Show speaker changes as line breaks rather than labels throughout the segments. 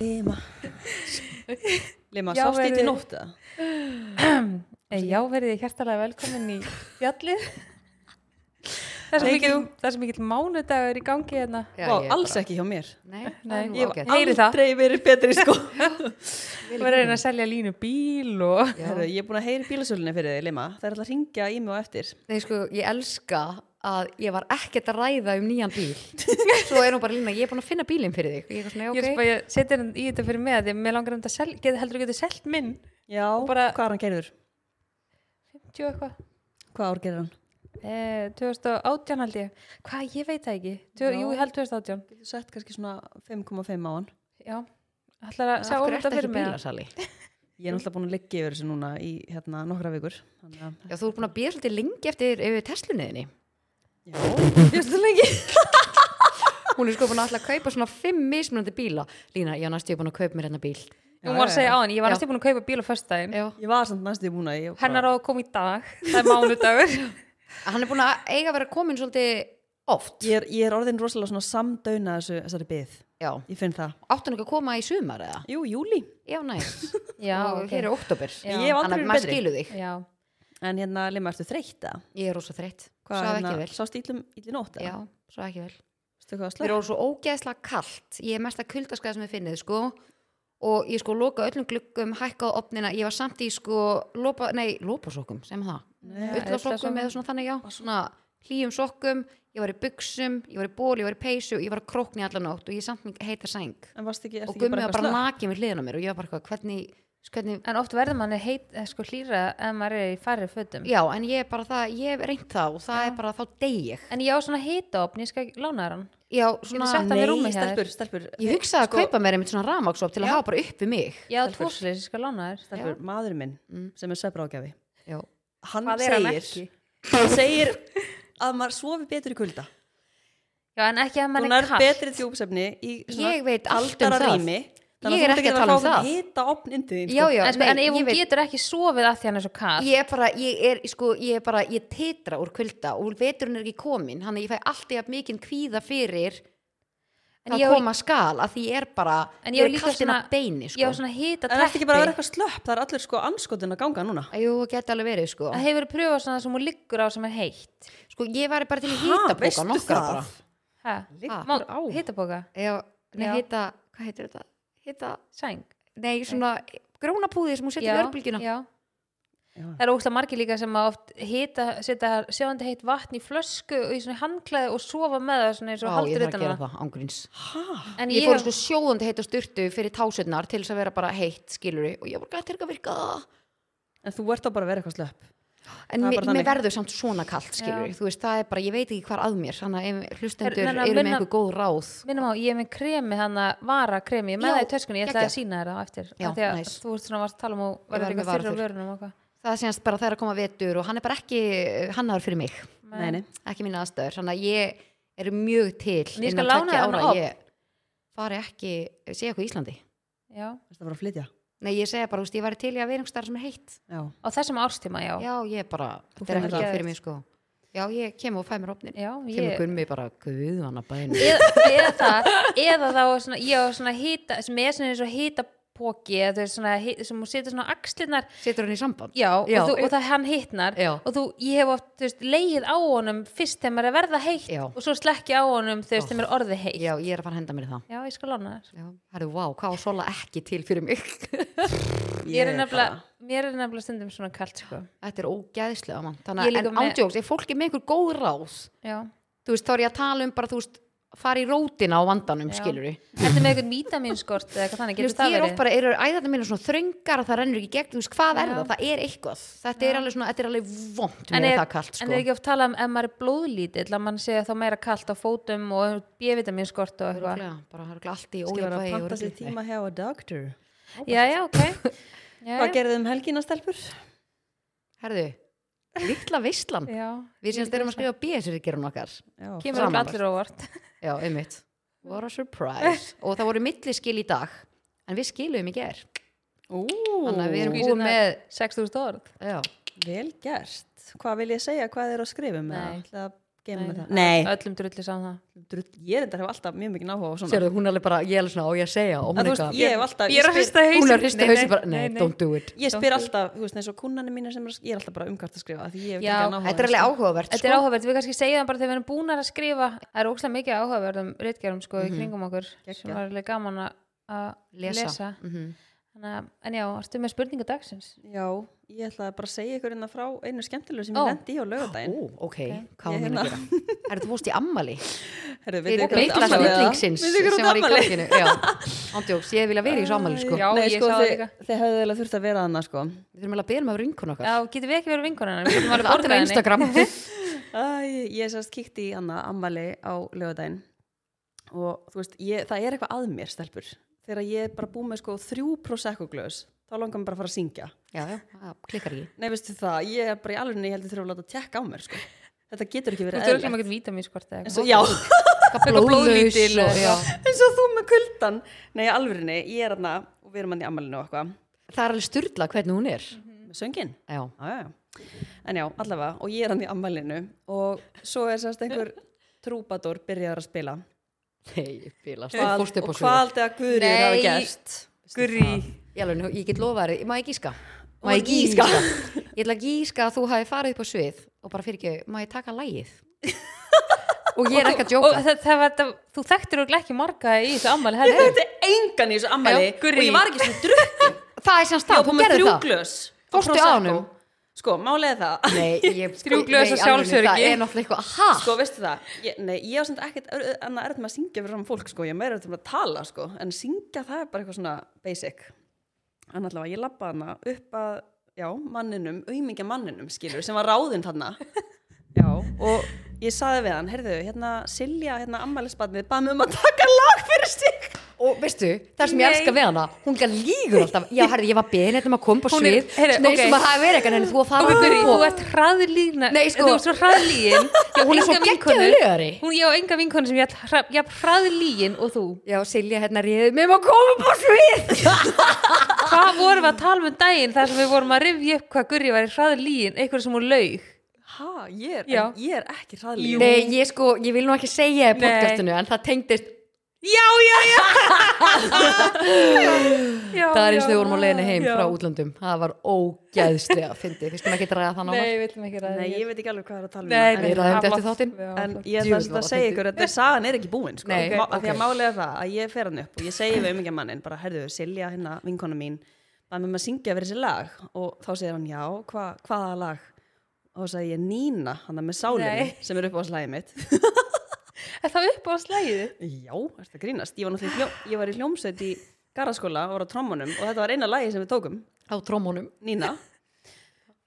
Lima
Lima,
Já,
sást eitt í
verið-
nótt eða?
Eh, Já, verðið þið hjertalega velkomin í fjallið. það er svo
Thank
mikill,
you.
það er svo mikill mánudagur í gangi hérna.
Vá, alls ekki hjá mér.
Nei,
Nei,
nei,
Nú,
Ég
ég
hef
ágætt. Heyri það.
aldrei verið betri sko.
Við erum að reyna að selja línu bíl og...
Heru, ég er búin að heyri bílasölunni fyrir þig, Lima. Það er alltaf að ringja í mig á eftir.
Nei, sko, ég elska að ég var ekkert að ræða um nýjan bíl. Svo er hún bara lína, ég er búin að finna bílinn fyrir þig. Ég er svona,
Ég,
ok,
er svo bara, ég seti hann í þetta fyrir mig að því að mér langar um þetta sel, get, heldur að geta selt minn
Já,
bara-
hvað er hann gerður?
50 og eitthvað
Hvað ár gerður hann?
eh, 2018 held ég hvað ég veit það ekki Tvö,
Já.
jú ég held 2018
Getur sett kannski svona 5,5 á hann.
já ætlar að sjá
af
um
hverju
þetta
ertu
fyrir
ekki
mig
bílasali?
Ég er náttúrulega búin að liggja yfir þessu núna í hérna nokkra vikur. Þannig að-
Já, þú ert búin að bíða svolítið lengi eftir yfir Teslunniðinni.
Já,
bjóstu lengi
Hún er sko búin að alltaf kaupa svona fimm mismunandi bíla. Lína, já, næstu ég er búin að kaupa mér hérna bíl.
hún var að segja á hann ég var
Já.
næstu búin að kaupa bíl á föstudaginn
Já.
ég var samt næstu búin að ég...
hennar á að koma í dag það er mánudagur
Hann er búin að eiga að vera komin svolítið oft.
Ég er, ég er orðin rosalega svona samdöuna þessu, þessari byð.
Já.
Ég finn það.
Átti hann ekki að koma í sumar eða?
Jú, júli.
Já, næst.
já
og
ok.
hér er oktober.
Já.
Ég hef aldrei
Þannig að
verið
maður
betri.
skilur þig.
já
En hérna, Lima, ertu þreytt eða?
Ég er rosa þreytt.
Hvað,
Svaf
hérna,
ekki vel.
Sást íllum, íll í nótt
Já,
eða?
svo ekki vel.
Veistu hvað,
Mér
slökkt?
voru svo ógeðslega kallt. Ég er mesta kuldaskæða sem ég finnið, sko. Og ég sko loka öllum gluggum, hækkaði opnina. Ég var samt í sko lopa, nei, lopasokkum, sem það. Ullasokkum
ullarsokum.
eða svona þannig, já. Svona hlýjum sokkum. Ég var í buksum, ég var í ból, ég var í peysu, ég var að krókni allan nótt og ég samt mér heitar sæng.
En varst ekki, ertu
Og
ekki
gummið
bara
var
eitthvað
bara
slökkt?
nakið við hliðina á mér og ég var bara eitthvað, hvernig, hvernig,
en oft verður manni heit eh, sko hlýra ef maður er í farri fötum
já, en ég er bara það, ég hef reynt það og það er bara þá dey ég.
en ég á svona heitaopn ég skal lána þér hann
Já, svona,
sett hann í rúmið
Nei,
hjá þér.
hérna, stelpur, stelpur.
ég hugsaði
Sko-
að kaupa mér einmitt svona ramaksop til að hafa bara uppi mig.
ég á tvo slis ég skal lána þér
stelpur, maður minn
Mm.
sem er svefrágjafi
Já.
hann
Hvað er hann ekki?
segir, hann segir að maður sofi betur í kulda
já en ekki ef
þú
mann er
nær
kall
betri djúpsefni í
Ég veit allt um
kaldara
það.
rými
Ég er ekki að tala um það.
hita opn indi þín
Já,
sko.
já,
en, sko, en
nei,
ef hún
ég veit-
getur ekki sofið að því hann er svo kall
Ég er bara, ég er, sko, ég er bara, ég titra úr kvölda og veturinn er ekki komin, hann að ég fæ allt í að mikinn kvíða fyrir
En
að
ég á-
koma skal, að því ég er bara,
En ég á
er
líka
kalt inn
svona-
að beini,
ég á
sko.
svona hita
en ertu
teppi
ekki bara að vera eitthvað slöpp það er allir sko anskotin að ganga núna
Jú, geti alveg verið, sko.
það hefur verið pröfað svona sem hún liggur á sem er heitt
Sko, ég var bara til í
Ha,
hýtabóka
veistu
nokkra
það?
bara.
Liggur á.
hitabóka,
Já, nei,
Já.
hýta, hvað heitir þetta? Hýta,
sæng
nei, svona grónapúði sem hún setur í
Já,
örbylgjuna.
já.
Já.
það eru óslega margir líka sem að oft hita, setja sjáandi heitt vatn í flösku og í svona handklæði og sofa með það svona eins og
Vá, ég
haldur
þarf að
utan um
gera
hana.
það, ángríns.
ha,
en
Ég fór sko sjóðandi heitt og styrtu fyrir tásunar til þess að vera bara heitt, skilur og ég var gætt til að virka það.
en þú ert þá bara að vera eitthvað slöpp Það er
En mér,
bara
mér
þannig.
verður samt svona kallt, skilur
Já.
Þú veist, það er bara, ég veit ekki hvað að mér Þannig að ef hlustendur
Herra,
eru
nei, nei,
með
minna-
einhver góð ráð
minnum á, ég er með kremi hann að vara kremi, ég er
Já,
með það í töskunni ég ætla að
geggjað.
sína þér það á eftir
Já,
af því að
nice.
þú ert svona varst að tala um og
var
verður
með
eitthvað fyrir á
varaþurr.
vörunum og eitthvað
Það er síðan bara það er að koma vetur og hann er bara ekki hannaður fyrir mig
nei, nei.
Ekki mín aðstöður, þannig að ég er mjög til
En ég skal
innan
lána þér
tveggja ára
hann
að Ég fari ekki, segja eitthvað í Íslandi
Já.
Ertu að fara að flytja
Nei, ég segja bara, þú veist, ég væri til í að vera einhverstaðar sem er heitt
já,
á þessum árstíma, já,
Já, ég er bara,
Þú
þetta er
finnur
ekki
það.
fyrir mig, sko Já, ég kem og fæ mér opnin
Já,
Kemur
ég-
gummi bara, guðvana bæni
eða, eða það eða þá er svona, ég á svona hýta sem er svona eins og hýtapóki eða þau eru svona, hita, sem hún setur svona á axlirnar
Setur hann í samband?
já,
Já.
og, þú, og það hann hittnar
Já.
og þú, ég hef oft, þú veist, leið á honum fyrst þegar maður er að verða heitt
Já.
og svo slekki á honum, þú veist, þegar maður er orðið heitt
Já, ég er að fara að henda mér í það
Já, ég skal lána þér
Já, herru, vá, hvað á sola ekki til fyrir mig?
Ég er
bara-
nefnilega, mér er nefnilega stundum svona kalt sko.
Þetta er ógæðislega, mann.
Ég
Þannig
er
að,
líka
en
með-
ándjóks, ef fólk er með einhver góð ráð,
Já
þú veist, þá er ég að tala um bara, þú veist, fara í rótina á vandanum,
Já.
skilur við.
Þetta með eitthvað vítaminskort eða eitthvað þannig,
Þú
getur
veist,
það
ég er oft
verið?
bara, eru æðarnir mínu svona þröngar og það rennur ekki í gegn, þú veist, hvað er
Já.
það? Það er eitthvað. Þetta er alveg svona, þetta er alveg vond
En
með
er-
það kalt,
En er
sko.
ekki oft talað um ef maður er blóðlítill að mann sé þá meira kalt á fótum og B-vitaminskort og eitthvað
Örugglega, Bara, það er allt í
Kannski var að
ójafvægi og
panta sér
rugli.
tíma hjá a doctor
Já, já, ok já,
hvað
já.
gerðið um helgina stelpur?
Herðu, litla veistlan.
Já,
Við sínast erum að skrifa BS-ríkjörun okkar.
Já.
kemur
Saman
okkur allir óvart
Já, einmitt. What a surprise. og það voru milliskil í dag, en við skilum í ger.
Ú,
Þannig að við erum
Skvísurnar.
búin með,
6.000 orð
já,
vel gert hvað vil ég segja, hvað er að skrifa um
Nei.
eða? Ætlaðu að Geymum við það. Nei,
Öllum drulli sá það
drull, ég reyndar hef alltaf mjög mikið náhuga á svona.
Sérðu, hún er alveg bara, ég er alveg svona á ég að segja oh
En
my
þú veist,
god.
ég hef alltaf,
Ég er
ég spyr,
að hrista hausin
Hún er að hrista hausin bara, nei, don't do it
ég spyr alltaf, þú veist, eins og kunnanir mín sem er, að- ég er alltaf bara umkvæmt að skrifa, af því ég hef
Já,
ekki náhuga.
Þetta er alveg áhugavert sko.
Þetta er áhugavert, við kannski segjum það bara þegar við erum búnar að skrifa Það er ókslega mikið áhugaverðum reitgerum sko
Mhm.
í kringum okkur sem var alveg gaman að- að lesa, lesa.
Mhm.
Þannig, að- En já, ertu með spurningu dagsins?
Já, ég ætlaði bara að segja ykkur innan frá einu skemmtilegu sem
Ó.
ég lendi í á lögadaginn.
Ó, ok, hvað
Ég
var hún
hérna-
að gera? Er þú fórst í ammali?
Herru,
Fyrir
vitið ykkur
mikla
átt afmælið, eða?
snillingsins
Vitið ykkur
sem
átt
var í
afmælið?
kalkinu Já, ándjóks, ég vilja vera í svo ammali sko
Já,
Nei,
ég
sko,
sá það
þið-
líka.
Þið hefðu eiginlega þurft að vera þarna, sko.
Við þurfum alveg að byrja með vinkun okkar
Já, getum við ekki verið vinkonarnar? Við getum
Það
alveg
er alltaf
borgað henni
Instagram
Æ, ég sérst kíkti í Anna ammali á lögadaginn og þú veist, ég, það er eitthvað að mér stelpur. Þegar ég er bara búið með sko þrjú prosecco-glöðs, þá langar mér bara að fara að syngja.
Já, já, það klikkar ég
Nei, veistu það, ég er bara í alveg, ég heldur þurfa að láta tjekka á mér, sko. Þetta getur ekki
Þú
verið
þurfum
eðlilegt.
ekki að víta mér skort eða
En
eitthvað
svo- Já,
Eitthvað
blóðlítil
blóðlaus og-
og-
já.
eins og þú með kuldan. Nei, alveg, ég er hann og við erum hann í ammalinu og eitthvað.
Það er alveg styrla hvernig hún er
Með sönginn.
Já,
Já, já, já. En já, allavega, og ég er hann í ammælinu og svo er sérst einhver trúbadur byrjaður að spila.
nei, bílast Þú
Hvað-
fórst upp á
og hvað
svið
aldrei að Guðrýr hafi
Nei.
gerst?
Gurri
Ég alveg, nú- ég get lofað þér, má ég gíska? Má
Má
ég
gíska?
gíska? Ég ætla að gíska að þú hafi farið upp á svið og bara fyrir ekki, má ég taka lægið? Og ég er ekki
Og
að djóka
það, það var, það, þú þekktir örugglega ekki marga í þessu ammali
Ég
heldur
þekkti engan í þessu ammæli
Já, Gurrý.
og ég var ekki svona drukkin.
Það er
Ég
sem
var
stað, þú
búin með
gerði
þrjú
það
glös. og
Fórstu á
Prosecco.
honum?
Sko, málega það.
Nei, ég
Þrjú glös
nei,
af
í alvörunni,
sjálfsöryggi.
Það er náttúrulega eitthvað, ha?
Sko, veistu það, ég, nei, ég á svona ekkert ör- annað erð með að syngja fyrir svona fólk, sko, ég er meira erð með að tala, sko, en syngja það er bara eitthvað svona basic. En allavega, ég labba hana upp að, já, manninum, auðmingja manninum, skilur, sem var ráðinn þarna. Já, og ég saði við hann, heyrðu, hérna, Silja, hérna, ammælisbarnið, bað mig um að taka lag fyrir sig.
Og veistu, það sem ég
Nei.
elska við hana, hún gæl lígur alltaf Já, herri, ég var beðin hérna um að koma upp á
Hún er-
svið
heyrðu,
Nei,
ok.
sem að það er verið eitthvað, en þú að
Og
fara
Gurri,
upp
þú
og
ert hraðlíðna
Nei, sko-
Þú ert svo hraðlíðin
Hún er svo geggjöðlegari
Hún, ég á enga vinkonu sem ég er hra, ég hraðlíðin og þú
Já, Silja hérna réði mig um að koma upp á svið
Hvað vorum við að tala um daginn þar sem við vorum að rifja upp hvað Gurri var í hraðlíðin eitthvað sem hún laug
Ha, ég er,
Já.
en ég er ekki hraðlíð.
Nei, ég sko, ég vil nú ekki segja í
Nei.
podcastinu En það tengdist,
Já, já, já Já,
það er eins
já.
og við vorum á leiðinu heim
Já.
frá útlöndum Það var ógæðslega, fyndi Við skulum ekki draga það
Nei,
námar
við viljum ekki ræða
Nei,
hér.
ég veit ekki alveg hvað það er að tala um.
Nei,
en-
nei,
Við ræðum þetta eftir
flott.
þáttinn.
Já,
en
flott.
ég ætla
Djöfull
samt
var
að
það
segja
fyndið.
ykkur þetta sagan er ekki búin sko.
Nei,
okay, okay. því
ok.
að málega það að ég fer hann upp og ég segi við umingja mannin bara herðu Silja hérna vinkona mín um að með maður syngja fyrir þessi lag og þá segir hann já, hva, hvaða lag og þá sagði ég Nína, hann með sálinni
Nei.
sem er upp á slæði mitt
Er það upp á slæðið?
já, er það grínast, ég var, náttúrulega í hljó, ég var í hljómsveit í garaskóla og var á trommunum og þetta var eina lagi sem við tókum
Á trómónum
Nína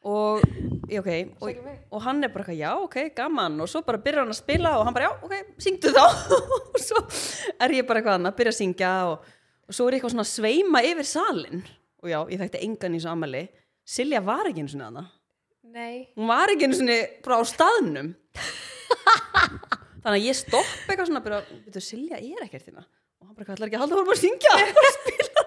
og, já, ok, og, og hann er bara eitthvað, já, ok, gaman og svo bara byrjar hann að spila og hann bara, já, ok, syngdu þá og svo er ég bara eitthvað annað, byrja að syngja og, og svo er ég eitthvað svona að sveima yfir salin og já, ég þekkti engan í þessu amali Silja var ekki eins og neðana
Nei
hún var ekki einu sinni bara á staðnum þannig að ég stopp eitthvað svona bara, veitu, Silja er ekkert þína og hann bara kallar ekki að halda honum að syngja bara spila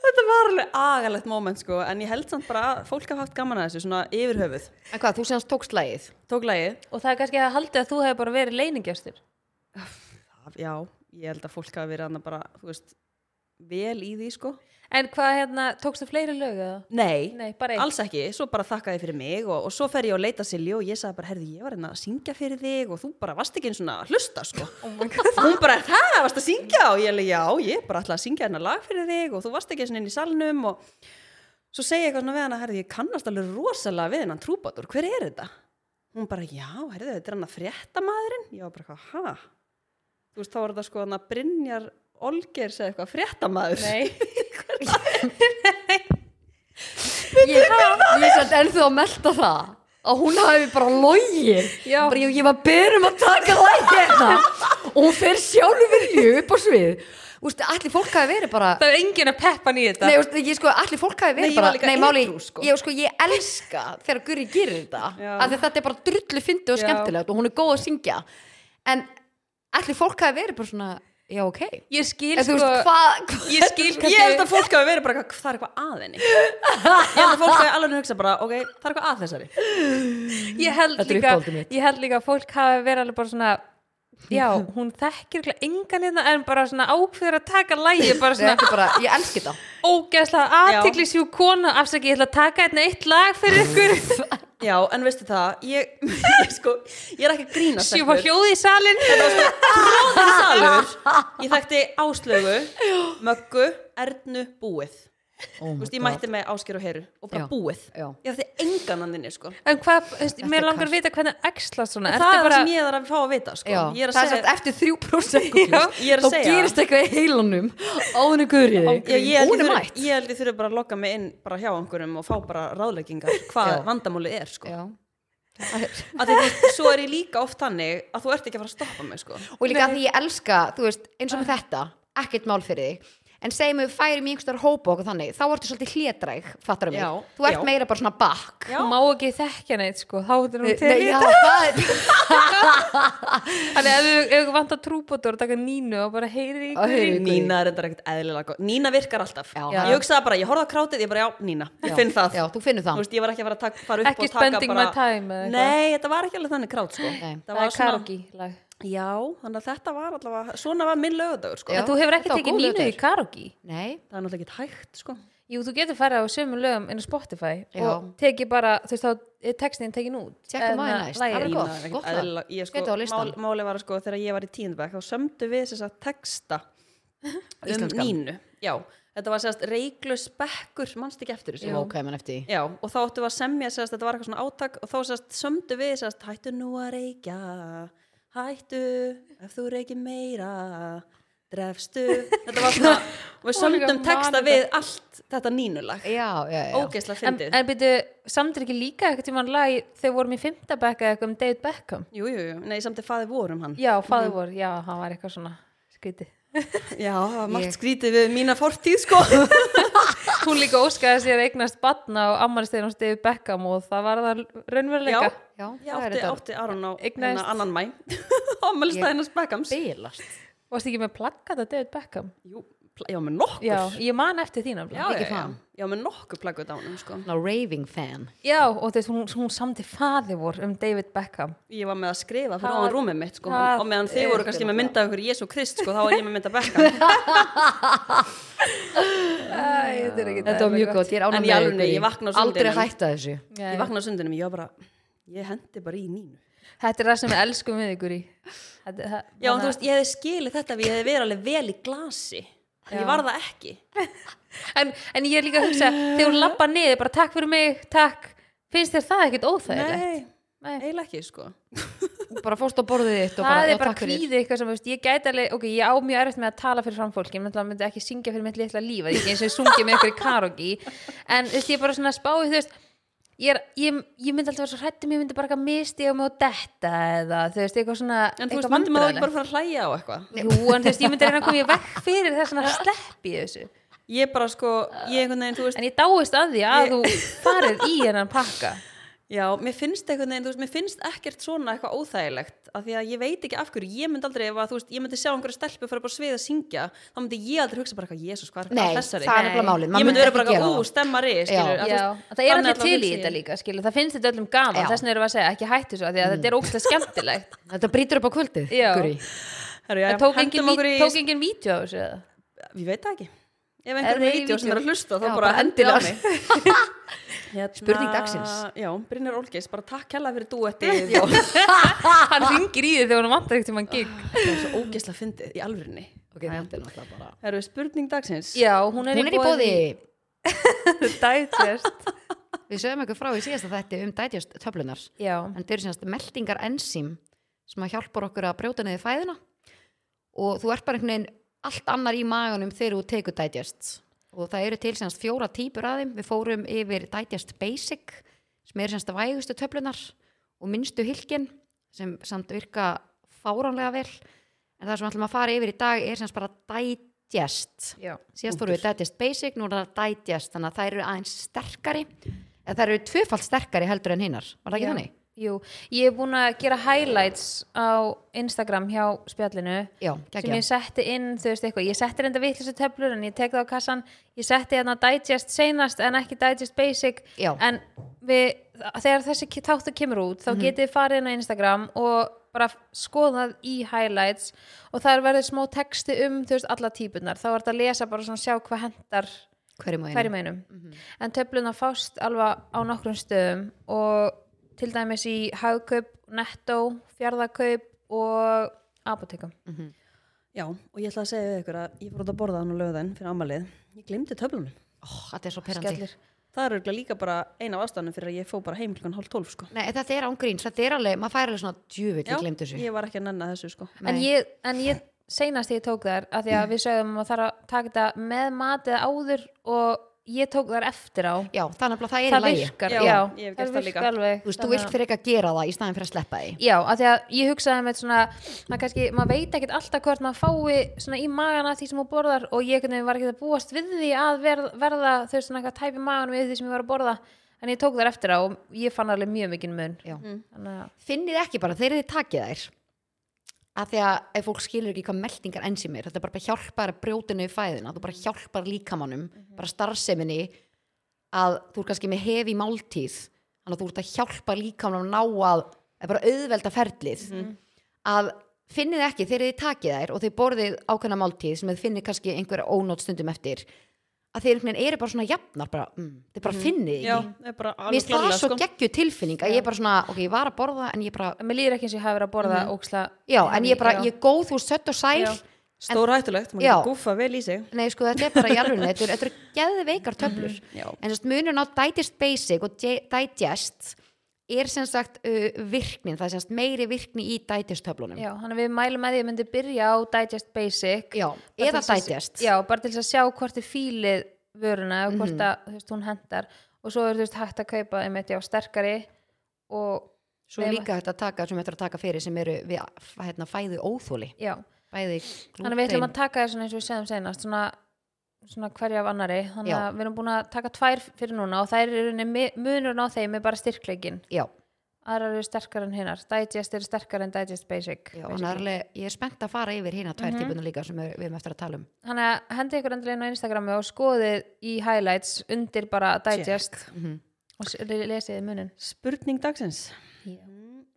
þetta var alveg agalegt moment sko en ég held samt bara að fólk hafði haft gaman að þessu svona yfir höfuð,
En hvað, þú séðast tókst lagið
tók lagið
Og það er kannski að haldi að þú hefur bara verið leiningjastur
já, ég held að fólk hafi verið annað bara, þú veist vel í því sko
En hvað hérna, tókstu fleiri lög eða?
Nei,
Nei, bara eitt.
alls ekki, svo bara þakkaði fyrir mig og, og svo fer ég og leita Silju og ég sagði bara, herði, ég var hérna að syngja fyrir þig og þú bara varst ekki eins og að hlusta, sko.
Oh
og hún bara, það, varst að syngja og ég alveg, já, ég bara ætlaði að syngja hérna lag fyrir þig og þú varst ekki eins og inn í salnum og svo segi ég eitthvað svona við hana, herði, ég kannast alveg rosalega við hennan trúbátur, hver er þetta? Hún bara, já, herði, þetta er hann að frétta maðurinn? Ég var bara, hæ? Þú veist, þá var þetta sko hann að Brynjar Olgers eða eitthvað, fréttamaður.
Nei
Ég ég er samt ennþá að melta það að hún hafi bara logið
Já.
bara ég, ég var byrjum að taka lagið hérna." og hún fer sjálfur í upp á svið Úst, allir fólk hafi verið bara
Það er engin að peppa nýja þetta
Nei, úst, ég sko, allir fólk hafi verið
Nei, ég
bara
var líka
Nei, máli,
edrú, sko.
ég, sko, ég elska þegar Guri gerir þetta
Já.
af því að þetta er bara drullu fyndi og
Já.
skemmtilegt og hún er góð að syngja en allir fólk hafi verið bara svona já, ok
Ég skil
En þú
sko
veist, hvað hva,
Ég skil
Ég held að fólk hafi verið bara eitthvað, það er eitthvað að henni Ég held að fólk hafi alveg hugsa bara, ok, það er eitthvað að þessari
ég held
Þetta er
líka
uppáhaldið mitt.
ég held líka að fólk hafi verið alveg bara svona já, hún þekkir ekki engan hérna en bara svona ákveður að taka lægi bara
Nei,
svona
þetta er bara, ég elski það
ógeðslega
Já.
aðtikli sjú konu afsaki, ég ætla að taka hérna eitt lag fyrir ykkur
Já, en veistu það, ég, ég sko, ég er ekki að grína
sjú var hljóði í salin
salur Ég þekkti Áslögu, Möggu, Ernu, Búið Þú
oh
veist, ég mætti sko. með Ásker og Heru og bara
Já.
Búið
Já.
Ég þekkti engan hann inni, sko
en hvað, þú veist,
Þetta er
mér langar
kast.
að vita hvernig axla
Það
svona,
er
ertu
það
bara
sem ég er að fá að vita, sko
Já,
Ég er að
það er
segja
satt eftir þrjú prósent
Ég er að
þá
segja.
gerist eitthvað í heilanum áðunni guðrið
Já, ég held ég
hún er
þurfi-
mætt
ég held ég þurfi bara að lokka mig inn bara hjá einhverjum og fá bara ráðleggingar hvað
Já.
vandamálið er sko.
Já.
Af því, þú veist, Svo er ég líka oft þannig að þú ert ekki að fara að stoppa mig sko.
og líka að því ég elska, þú veist, eins og með þetta ekkert mál fyrir þig en segjum við færum í einhverjar hópa og okkur þannig þá ertu svolítið hlédræg, fattar mig
Já,
þú ert
já.
meira bara svona bakk
Já.
Hún má ekki þekkja neitt sko, þá er hún til
Nei, já, það er
þannig ef þú- ef þú vant að trúbótur taka nínu og bara heyri
Og
ykkur
heyri
í-
Guð.
Nína er reyndar ekkert eðlilega góð Nína virkar alltaf
Já.
Ég hugsaði bara, ég horfði á krátið, ég bara já, Nína Ég
Já,
finn það
já, þú finnur
Þú
það
veist, Ég var ekki að fara að taka, fara upp
Ekki
og taka
spending
bara
my time eða eitthvað.
Nei, þetta var ekki alveg þannig krát sko.
Nei.
Það
það
var
er
svona,
karaoke lag
Já, þannig að þetta var allavega Svona var minn lögudagur sko.
Já.
en þú hefur ekki
Þetta var
tekið
góð
nínu í
lögdagur.
karaoke
nei,
Það er náttúrulega ekki hægt sko.
Jú, þú getur farið á sömu lögum inn á Spotify
Já.
og tekið bara, þú veist, þá er textin tekin út.
Tjekkum á því
Enna
næst.
lagið.
Það er
Nína
gott,
er
gott
ekkert
lag.
eðlilega ég, sko,
Settu á listann.
mál, Máli var sko, þegar ég var í tíndbæk þá sömdu við þess að texta um
Íslenskan.
Nínu Já, þetta var sérst reiklus bekkur mannst ekki eftir þessu
sem ok, menn eftir því
Já, og þá áttum við að semja, sérst, þetta var eitthvað svona átak og þá sérst, sömdu við, sérst, hættu nú að reykja, hættu, ef þú reykir meira, drefstu. Þetta var svona, og við
Hún er
sömdum
að
texta
mana
við allt þetta nínulag,
já, já, já,
ógeðslega
En,
fyndið.
en byrju, samt er ekki líka eitthvað tímann lag í- þegar vorum í fymta bekka eitthvað um David Beckham.
Jú, jú, jú, nei, samt er faðið vorum hann.
Já, fæður voru, já, hann var eitthvað svona skrítið.
Já, það var margt
Ég-
skrítið við mína fortíð, sko.
Hún líka óskaði sér eignast batna á ammarstegin hos David Beckham og það var það
Já,
raunveruleika.
já,
ég
það er
átti,
þetta
átti Aron á
Eignaðist-
hérna annan mæ, ámælstæðina spekkams.
bilast
Varst ekki með plakkat að David Beckham?
Jú, pla- já, með nokkur.
Já, ég man eftir þín
já,
alveg.
já,
Ekki
já,
fan.
já, með nokkur plakkuð á hann, sko.
Ná, raving fan
Já, og þú veist, hún, hún samti fæður voru um David Beckham.
ég var með að skrifa fyrir
Það-
áan rúmið mitt sko,
það
og meðan þið
er
voru kannski með myndað ykkur Jésu Krist sko, þá var ég með myndað Beckham
Æ, þetta er ekki
þetta var mjög gott, ég er
En
ánægð
í
með
alvörunni,
ykkur í-
ég vakna á
aldrei
sundinum.
hætta þessu
ég vaknaði á sundinum, ég var bara ég hendi bara í nínu
Þetta er það sem við elskum við ykkur í þetta, það,
já, en þú veist, ég hefði skilið þetta ef ég hefði verið alveg vel í glasi en ég var það ekki
en, en ég er líka að hugsa þegar hún lappa niður, bara takk fyrir mig, takk finnst þér það ekkert óþægilegt?
nei,
Nei.
eiginlega ekki sko
bara fórst á borðið þitt og
Það
bara, já,
er bara
takk fyrir.
kvíði eitthvað sem, þú veist, ég gæti alveg, ok, ég á mjög erfitt með að tala fyrir fram fólki, ég myndi, myndi ekki syngja fyrir mitt litla líf, að ég ekki eins og ég sungi með ykkur í karogi, en þú veist, ég er bara svona spáið, þú veist, ég, er, ég, ég myndi alltaf vera svo hrættum, ég myndi bara eitthvað misti á mig og detta eða, þú veist, eitthvað svona,
en þú
eitthvað
veist, myndi maður
vandræðalegt.
ekki bara fara að hlæja á eitthvað
Jú, en þú veist, ég myndi reyna að koma í vekk fyrir þess að sleppi ég þessu.
ég bara sko, ég einhvern veginn, þú veist
En ég dáist að því að þú farið í hennan pakka.
já, mér finnst einhvern veginn, þú veist, mér finnst ekkert svona eitthvað óþægilegt af því að ég veit ekki af hverju, ég myndi aldrei ef að, þú veist, ég myndi sjá einhverja stelpu fyrir bara svið að syngja þá myndi ég aldrei hugsa bara eitthvað, jésus, hvað er hvað
nei,
er
það
þessari
er
Nei.
nefnilega málið maður
ég myndi
myndi
vera
ekki
bara
gera
eitthvað,
það.
ú, stemmari skilur,
Já.
að þú
Já,
veist,
það er
þannig
allir
að
til í
hugsa
þetta líka, skilur, það finnst þetta öllum gaman,
Já.
þess vegna erum við að segja, ekki hættu svo, af því að þetta er ógstlega skemmtilegt.
þetta brýtur upp á kvöldið
Já.
Guri.
Herru, já,
Það tók
hendum
engin,
okkur
í...
í-
tók engin vídeo á þessu eða?
Ég veit það ekki Ef
Er
einhverjum
það
er
í
vídeo sem
vídeó?
er að hlusta þá
Já,
bara
bara
hendur á
endilega.
mig hérna,
Spurning dagsins.
Já, Brynjar Olgeis, bara takk hella fyrir duettið og það
Hann ringir í því þegar hún vantar ekkert um hann gig.
er svo ógeðslega fyndið í alvörinni
ok, þetta er náttúrulega bara
Herru, spurning dagsins
Já, hún er,
hún er í bóði
boði Digest.
við sögum eitthvað frá í síðasta þætti um digest töflunar
Já,
en þau eru sínast meldingar ensím sem að hjálpar okkur að brjóta niður fæðina og þú ert bara einhvern veginn allt annar í maganum þegar þú tekur digest og það eru til sínast fjóra típur af þeim við fórum yfir digest basic sem eru sínast vægustu töflunar og minnstu hylkin sem samt virka fáránlega vel en það sem við ætlum að fara yfir í dag er sínast bara digest
já.
síðast voru við Digest Basic, nú er það Digest þannig að þær eru aðeins sterkari eða þær eru tvöfalt sterkari heldur en hinnar, var það ekki
Já.
þannig?
Jú, ég er búin að gera highlights á Instagram hjá spjallinu
Já,
sem ég
geggjað.
setti inn, þú veist eitthvað, ég setti reynda vitleysu töflur en ég tek það á kassan ég setti hérna digest seinast en ekki digest basic
Já.
en við, þegar þessi ki- þáttur kemur út
Mhm.
þá getið þið farið inn á Instagram og bara skoðað í highlights og það er verið smó texti um þú veist, alla típunar, þá er þetta að lesa bara svona sjá hvað hendar
Hverjum og einum.
hverjum einum
Mhm.
en töfluna fást alveg á nokkrum stöðum og til dæmis í hagkaup, netto, fjarðakaup og apotekum
Já, og ég ætla að segja við ykkur að ég fór út að borða hann á löðin fyrir amalið. Ég glemdi töflunum.
Ó, Þetta er svo perandi.
skellir
Það er örugglega líka bara eina af ástæðanum fyrir að ég fó bara heim klukkan hálf tólf, sko.
Nei, þetta er ángríns, þetta er alveg, maður fær alveg svona djúvill, ég glemdi þessu.
ég var ekki að nenna þessu, sko.
en
Nei.
ég, en ég seinast ég tók þær af því að við sögum að þarf að taka þetta með mat eða áður og ég tók þær eftir á
Já, þannig að það er í
það
lagi.
virkar,
Já,
já,
ég hef gert
það
það líka.
virkar alveg
Þú veist, þú
Þannig að-
vilt fyrir ekki að gera það í staðin fyrir að sleppa því.
Já, af því að ég hugsaði með svona maður kannski, maður veit ekkert alltaf hvort maður fái svona í magana því sem hún borðar og ég einhvern veginn var ekkert að búast við því að verð, verða þau svona eitthvað tæpi maganum við því sem ég var að borða en ég tók þar eftir á og ég fann alveg mjög mikinn mun
Já.
Þannig að,
Finnið ekki bara, þeir eru þið takið þær. Af því að ef fólk skilur ekki hvað meltingar enzimir, þetta er bara að hjálpa þær að brjóta niður fæðina, þú bara hjálpar líkamannum, bara starfseminni að þú er kannski með hefi máltíð, þannig að þú ert að hjálpa líkamannum að ná að, að bara auðvelda ferlið, að finnið ekki þegar þið takið þær og þið borðið ákveðna máltíð sem þið finnið kannski einhverja ónót stundum eftir, að þið einhvern veginn eru bara svona jafnar, bara, mm, þið bara finnið ekki.
Já, það er bara
Mér
alveg
finnst það
klárlega,
svo
sko.
geggju tilfinning að ég bara svona, ok, ég var að borða en ég bara,
að mér líður ekki eins og ég hafi verið að borða óksla
Mhm. já, en ég bara,
Já.
ég er góð, þú ert sött og sæl
Já.
Stór hættulegt, maður
Já.
getur gúfa vel í sig.
Nei, sko, þetta er bara í alveg, þetta eru- þetta eru geðveikar
Mhm,
töflur
Já.
En þess munur á Digest Basic og Di- Digest er sem sagt uh, virknin, það er sem sagt meiri virkni í Digest töflunum
Já, þannig að við mælum með því að myndi byrja á Digest Basic
Já,
Bara
eða
til þess að-
Digest
já, bara til þess að sjá hvort þið fílið vöruna og hvort að þú veist, hún hendar og svo er þú veist hægt að kaupa einmitt já, sterkari og
Svo er líka hægt að taka, sem þetta er að taka fyrir sem eru við hérna, fæðu óþóli
já,
Bæði
þannig að við ætlum
glútein
að taka þér svona eins og við segjum seinast svona, svona hverja af annari þannig
Já.
að við erum búin að taka tvær fyrir núna og þær eru í rauninni mi- munurinn á þeim er bara styrkleikin
Já,
aðrar eru sterkar en hinnar, Digest eru sterkar en Digest Basic
já hann er
basically. Mhm.
alveg, ég er spennt að fara yfir hérna tvær mm líka sem er, við erum eftir að tala um
þannig að hendi ykkur endur inn á Instagramu og skoðið í highlights undir bara Digest
Mhm.
og s- lesið munin
Spurning dagsins.
yeah.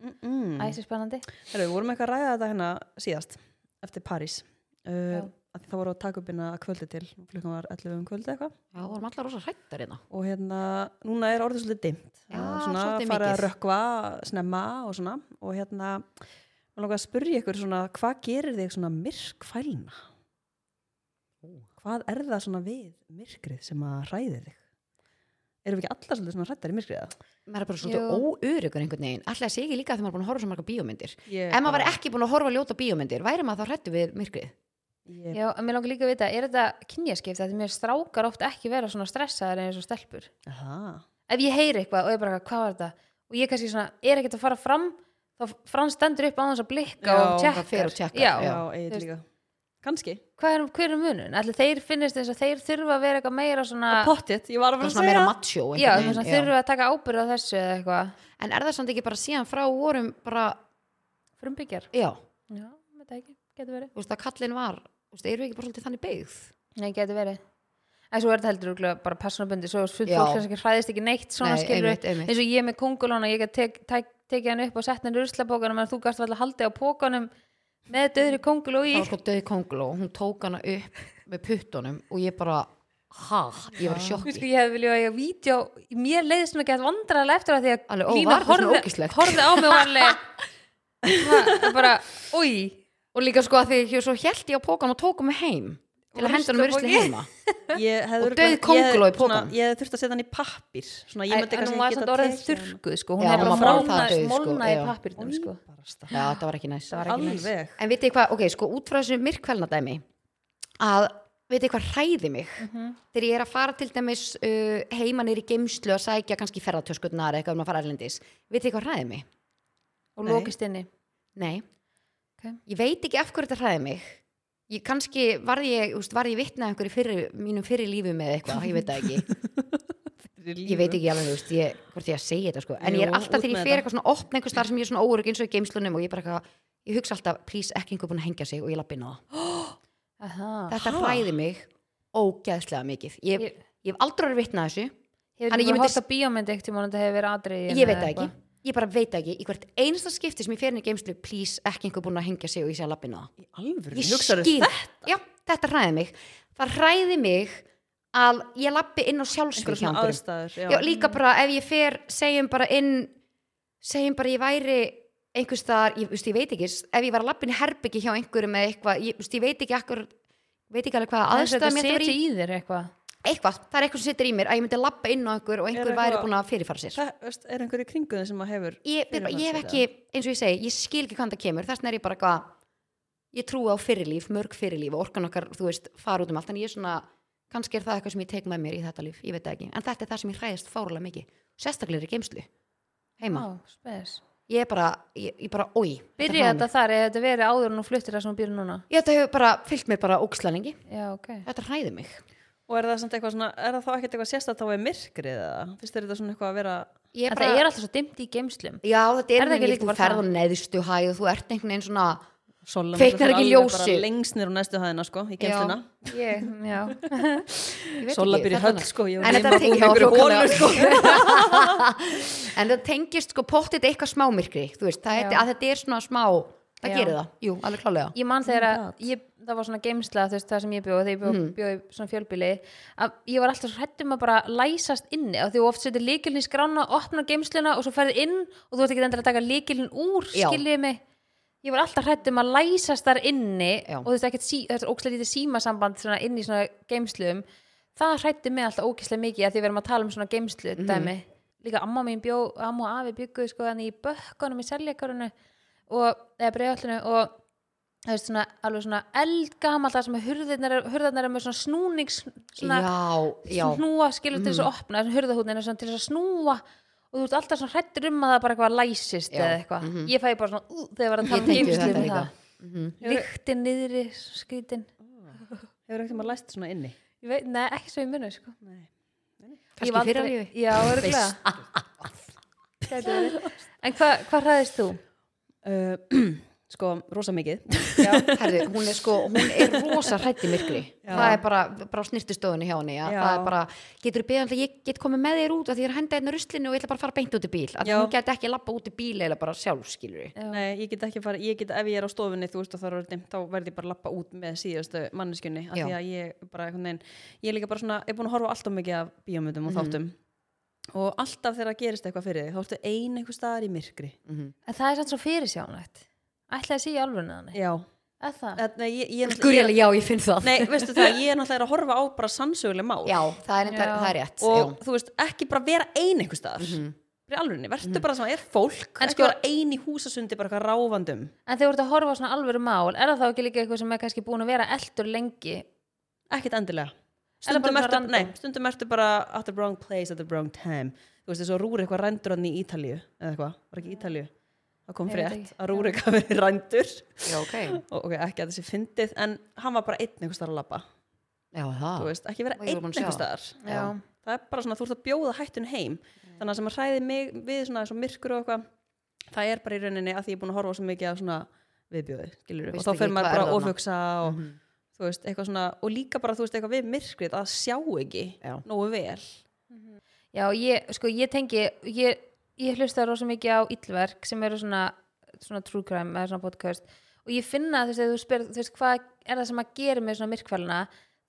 Mm -mm.
Æsir spennandi
Herru, við vorum eitthvað að ræða þetta hérna síðast eftir París uh, að það voru að taka upp hérna að kvöldi til klukkan var 11 um kvöldi eitthvað
Já, vorum allar rosa hrættar hérna
og hérna, núna er orðið svolítið dimmt
Já,
og svona
svolítið
farið að
mikið.
rökkva snemma og svona og hérna, maður lóka að spyrja ykkur svona hvað gerir þig svona myrk fælna? Hvað er það svona við myrkrið sem að hræði þig? Erum við ekki allar svolítið svona hrættar í myrkriða?
maður er bara svolítið óörugur einhvern veginn alltaf að sé ekki líka að þegar maður er búin að horfa svo marga bíómyndir
Ég
ef maður var
bara-
ekki búin að horfa á ljóta bíómyndir væri maður þá hrættu við myrkrið
Ég,
Já, en mér langar líka að vita, er þetta kynjaskipt að því mér strákar oft ekki vera svona stressaðar eins og stelpur
aha,
ef ég heyri eitthvað og ég bara, hvað var þetta og ég kannski svona, er ekkert að fara fram þá fram stendur upp á þess að blikka
Já,
og
bara fer
tjekkar,
og tjekkar,
Já,
já,
þú
eigið
veist.
líka. Kanski.
Hvað er, hver er munun? Allir þeir finnist eins og þeir þurfa að vera eitthvað meira svona
Pottitt, ég var að fara
það er
að
svona
segja
meira
það.
macho
já,
einhvern
svona,
veginn,
þurfa að taka ábyrð á þessu eða eitthvað
já. en er það samt ekki bara síðan frá vorum bara,
frumbyggjar
já,
Já, þetta ekki, getur verið
þú veist að kallin var þú veist, eru við ekki bara svolítið þannig beigð
Nei, getur verið En svo er þetta heldur örugglega bara personabundi svo fólk
Já.
kannski hræðist ekki neitt svona
Nei,
skilur
einmitt, einmitt.
eins og ég með kongulóna, ég get tek, tek, tekið hann upp og sett hann í ruslapókanum en þú gafst alltaf haldið á pókanum með döðri konguló í
það var sko döð konguló, hún tók hana upp með puttunum og ég bara ha, ég var í
Þú veist,
sjokki
Sko, ég hefði viljað að ég vídeo mér leiði svona gett vandrarlega eftir að því að
Alveg, ó,
Lína
var þetta svona
horfði,
ógeðslegt?
horfði á mig og alveg það bara, oi
og líka sko að því ég svo held ég á pókan og tók hann mig heim til
Og
að henda hann
ruslapoki.
myrðsli heima
ég hefði
Og
örugglega-
dauð könguló í
ég- svona,
pokanum.
ég hefði þurft að setja hann í pappir svona, ég myndi
en hún
kannski
var
ekki
samt
geta
orðin
tekið hann.
þurrkuð sko, hún
Já,
er
hún
bara
var bara
frána,
það dauð, sko,
smólna í
já.
pappirnum sko.
Barasta.
já, það var ekki næst
það var ekki næs
alveg
En vitið þið hvað, ok, sko, út frá þessu myrkvelnadæmi að vitið þið hvað hræði mig
Mhm.
þegar ég er að fara til dæmis uh, heima nýri geimslu að sækja kannski ferðartöskurnar eða eitthvað um að fara erlendis vitið þið hvað hræði mig?
og lókist inni
Nei
Ok.
Ég veit ekki af hverju þetta hræði mig ég, kannski varð ég, úst, varð ég vitnað einhverju fyrir, mínum fyrir lífum eða eitthvað, ég veit það ekki
fyrir lífi
ég veit ekki alveg, þú veist, ég, hvort ég að segja þetta sko. en ég er
Jú,
alltaf
út
þegar
með
ég fer
þetta.
eitthvað svona opna einhvers þar sem ég er svona óörug eins og í geimslunum og ég bara eitthvað, ég hugsa alltaf, please, ekki einhver búin að hengja sig og ég lappi inn á það.
Aha.
Þetta hræði mig ógeðslega mikið. Ég,
Ég-
ég, hef aldrei verið vitna þessu,
Hefur
Þannig
ekki
ég
bara
myndi-
hótt á bíómynd eitt tíma og þetta hefur verið atrið
ég veit það ekki. Ég bara veit það ekki, í hvert einasta skipti sem ég fer inn í geimslu, please, ekki einhver búin að hengja sig og ég sé að lappi inn á það.
í alvöru,
Ég
hugsaðu
skil- Já, þetta hræði mig. Það hræði mig að ég lappi inn á sjálfsvík
einhverja
hjá
svona
einhverjum.
aðstæður
Já, líka bara ef ég fer, segjum bara inn segjum bara ég væri einhvers staðar, ég, veist, ég veit ekki ef ég var að lappin herbyggi hjá einhverjum eða eitthvað, ég, veist, ég veit ekki akkur veit ekki alveg hvaða
Þetta
aðstæða mér þetta
seti
verið í
í þér eitthvað
eitthvað, það er eitthvað sem situr í mér að ég myndi lappa inn á einhver og einhver
Er
væri
eitthvað-
búin að fyrirfara sér
það veist, er einhverju kringuðin sem að hefur
ég, ég, ég hef
fyrirfara sér
ekki, eins og ég segi, ég skil ekki hvaðan það kemur þess vegna er ég bara eitthvað ég trúi á fyrirlíf, mörg fyrirlíf og orkan okkar, þú veist, fara út um allt en ég er svona, kannski er það eitthvað sem ég tek með mér í þetta líf, ég veit það ekki, en þetta er það sem ég hræðist fárulega mikið, sérstaklega er geimslu heima,
Ó, spes.
ég er bara ég, ég bara, oi,
Byrja þetta þar eða þetta verið áður en þú fluttir það sem þú býr núna
ég þetta hefur bara fyllt mér bara óksla lengi,
Já, ok
þetta hræði mig
og er það, samt eitthvað svona, er það þá ekkert eitthvað sérstætt þá er myrkrið eða finnst þér þetta svona eitthvað að vera
ég
En það er alltaf svo dimmt í geimslum
já, þetta er,
Er það ekki
er
líka
þú
bara
ferð
það?
og neðstu hæð og þú ert einhvern veginn svona
Sola
Kveiknar
náttúrulega
ekki
fer alveg bara
ljósið.
lengst nýr á næstu hæðina sko í kemsluna
Ég, já
ég veit
Sola
ekki,
byrja í
þetta er-
höll sko ég
en
var
þetta
nema búin
tengist
með einhverju holu, sko.
en það tengist sko pottið eitthvað smámyrkri þú veist, það er,
Já.
að þetta er svona smá það
Já.
gerir það, jú, alveg klálega
Ég man þegar að ég, það var svona geimsla þú veist, það sem ég bjóð, þegar ég bjóð,
Mm.
bjóð í svona fjölbýli að ég var alltaf svo hrættum að bara læsast inni og því þú oft setur líkilin í skrána opna geimsluna og svo ferði inn og þú ert ekki endilega að taka líkilin úr
Já.
skiljið mig Ég var alltaf hrættum að læsast þar inni
Já.
og þú veist ekkert sí, þetta er ókslega lítið símasamband svona inn í svona geimslum það hrætti mig alltaf ókislega mikið að því við erum að tala um svona geimslu
Mhm.
dæmi líka amma mín bjó, amma og afi byggu sko þannig í bökkunum í seljakarunu og, eða bregðallinu og það er svona, alveg svona eldgamalt það sem hurðarnar, hurðarnar er með svona snúnings svona
já, Mm. já,
snúa skilur til þess að opna þessum hurðahúnin er svona til þess að snúa og þú ert alltaf svona hrættur um að það bara eitthvað læsist
Já, mhm.
eða eitthvað ég fæði bara svona ú, þegar var að tala um
tengi
geimslu
þetta
um
líka. Mhm.
það líktin niðri skrítin
hefur ekkert maður læst svona inni
ég veit, nei, ekki svo ég muni sko Ég hef
kannski fyrir
aldrei-
alveg
Já, örgulega En hvað hva hræðist þú?
uh, sko rosa mikið
Herðu, hún er sko, hún er rosa hrætti myrkri
Já.
það er bara, bara snirtustofunni hjá henni já.
Já.
það er bara, getur beðan að ég get komið með þér út af því ég er að henda einna ruslinu og ég ætla bara að fara beint út í bíl að
Já.
hún get ekki að lappa út í bíl eða bara sjálf skilur
Nei, ég get ekki fara, ég get, ef ég er á stofunni þú veist og það er orðin, þá verð ég bara að lappa út með síðustu manneskunni, af
Já.
því að ég bara einhvern veginn, ég er líka bara svona, er búin að horfa á alltaf mikið af bíómyndum og þáttum og alltaf þegar gerist eitthvað fyrir þig, þá ertu ein einhver staðar í myrkri
En það er samt svo fyrirsjánlegt Ætlaði að sé í alvörinu þannig
Já,
Er það?
Eð, nei, ég, ég, er náttúrulega-
Gurjali, já, ég finn það
Nei, veistu það, ég er náttúrulega er að horfa á bara sannsöguleg mál
já, það er,
Já.
reyndar- það er rétt
og
já.
þú veist, ekki bara vera ein einhver staðar í alvörinni, verður bara sem að er fólk
En
ekki
sko-
vera ein í húsasundi bara eitthvað um? ráfandum
En þegar þú ert að horfa á svona alvöru mál Er það þá ekki líka eitthvað sem er kannski búin að vera eldur lengi?
ekkert endilega
Eða bara
stundum
svona
ertu,
random?
nei, stundum ertu bara at the wrong place at the wrong time þú veist þess að rúri eitthvað rændur hann í Ítalíu eða eitthvað, var ekki Ítalíu það kom
Ég veit
frétt
ekki,
að rúri eitthvað verið rændur
já, ok
og ok, ekki að þessi fyndið en hann var bara einn einhvers staðar að labba
já,
þú
það
veist, ekki vera
Ah. Og ég var
einn
búin að sjá
einhvers
það.
staðar
Já,
það er bara svona, þú ert að bjóða hættun heim þannig að sem að hræði mig við svona svo myrkur og eitthvað það er bara í rauninni að því ég er búin að horfa á svo mikið af svona viðbjóði, skilur og
Veist
þá
ekki
fer maður
hvað er
bara að
þarna.
ofugsa og,
Mhm.
þú veist, eitthvað svona, og líka bara, þú veist, eitthvað við myrkrið að sjá ekki
Já.
nógu vel
Já, ég, sko, ég tengi ég, ég hlusta rosa mikið á illverk sem eru svona, svona true crime eða svona podcast og ég finna þess að þú spyrir, þú veist, hvað er það sem að gera mig svona myrkfælina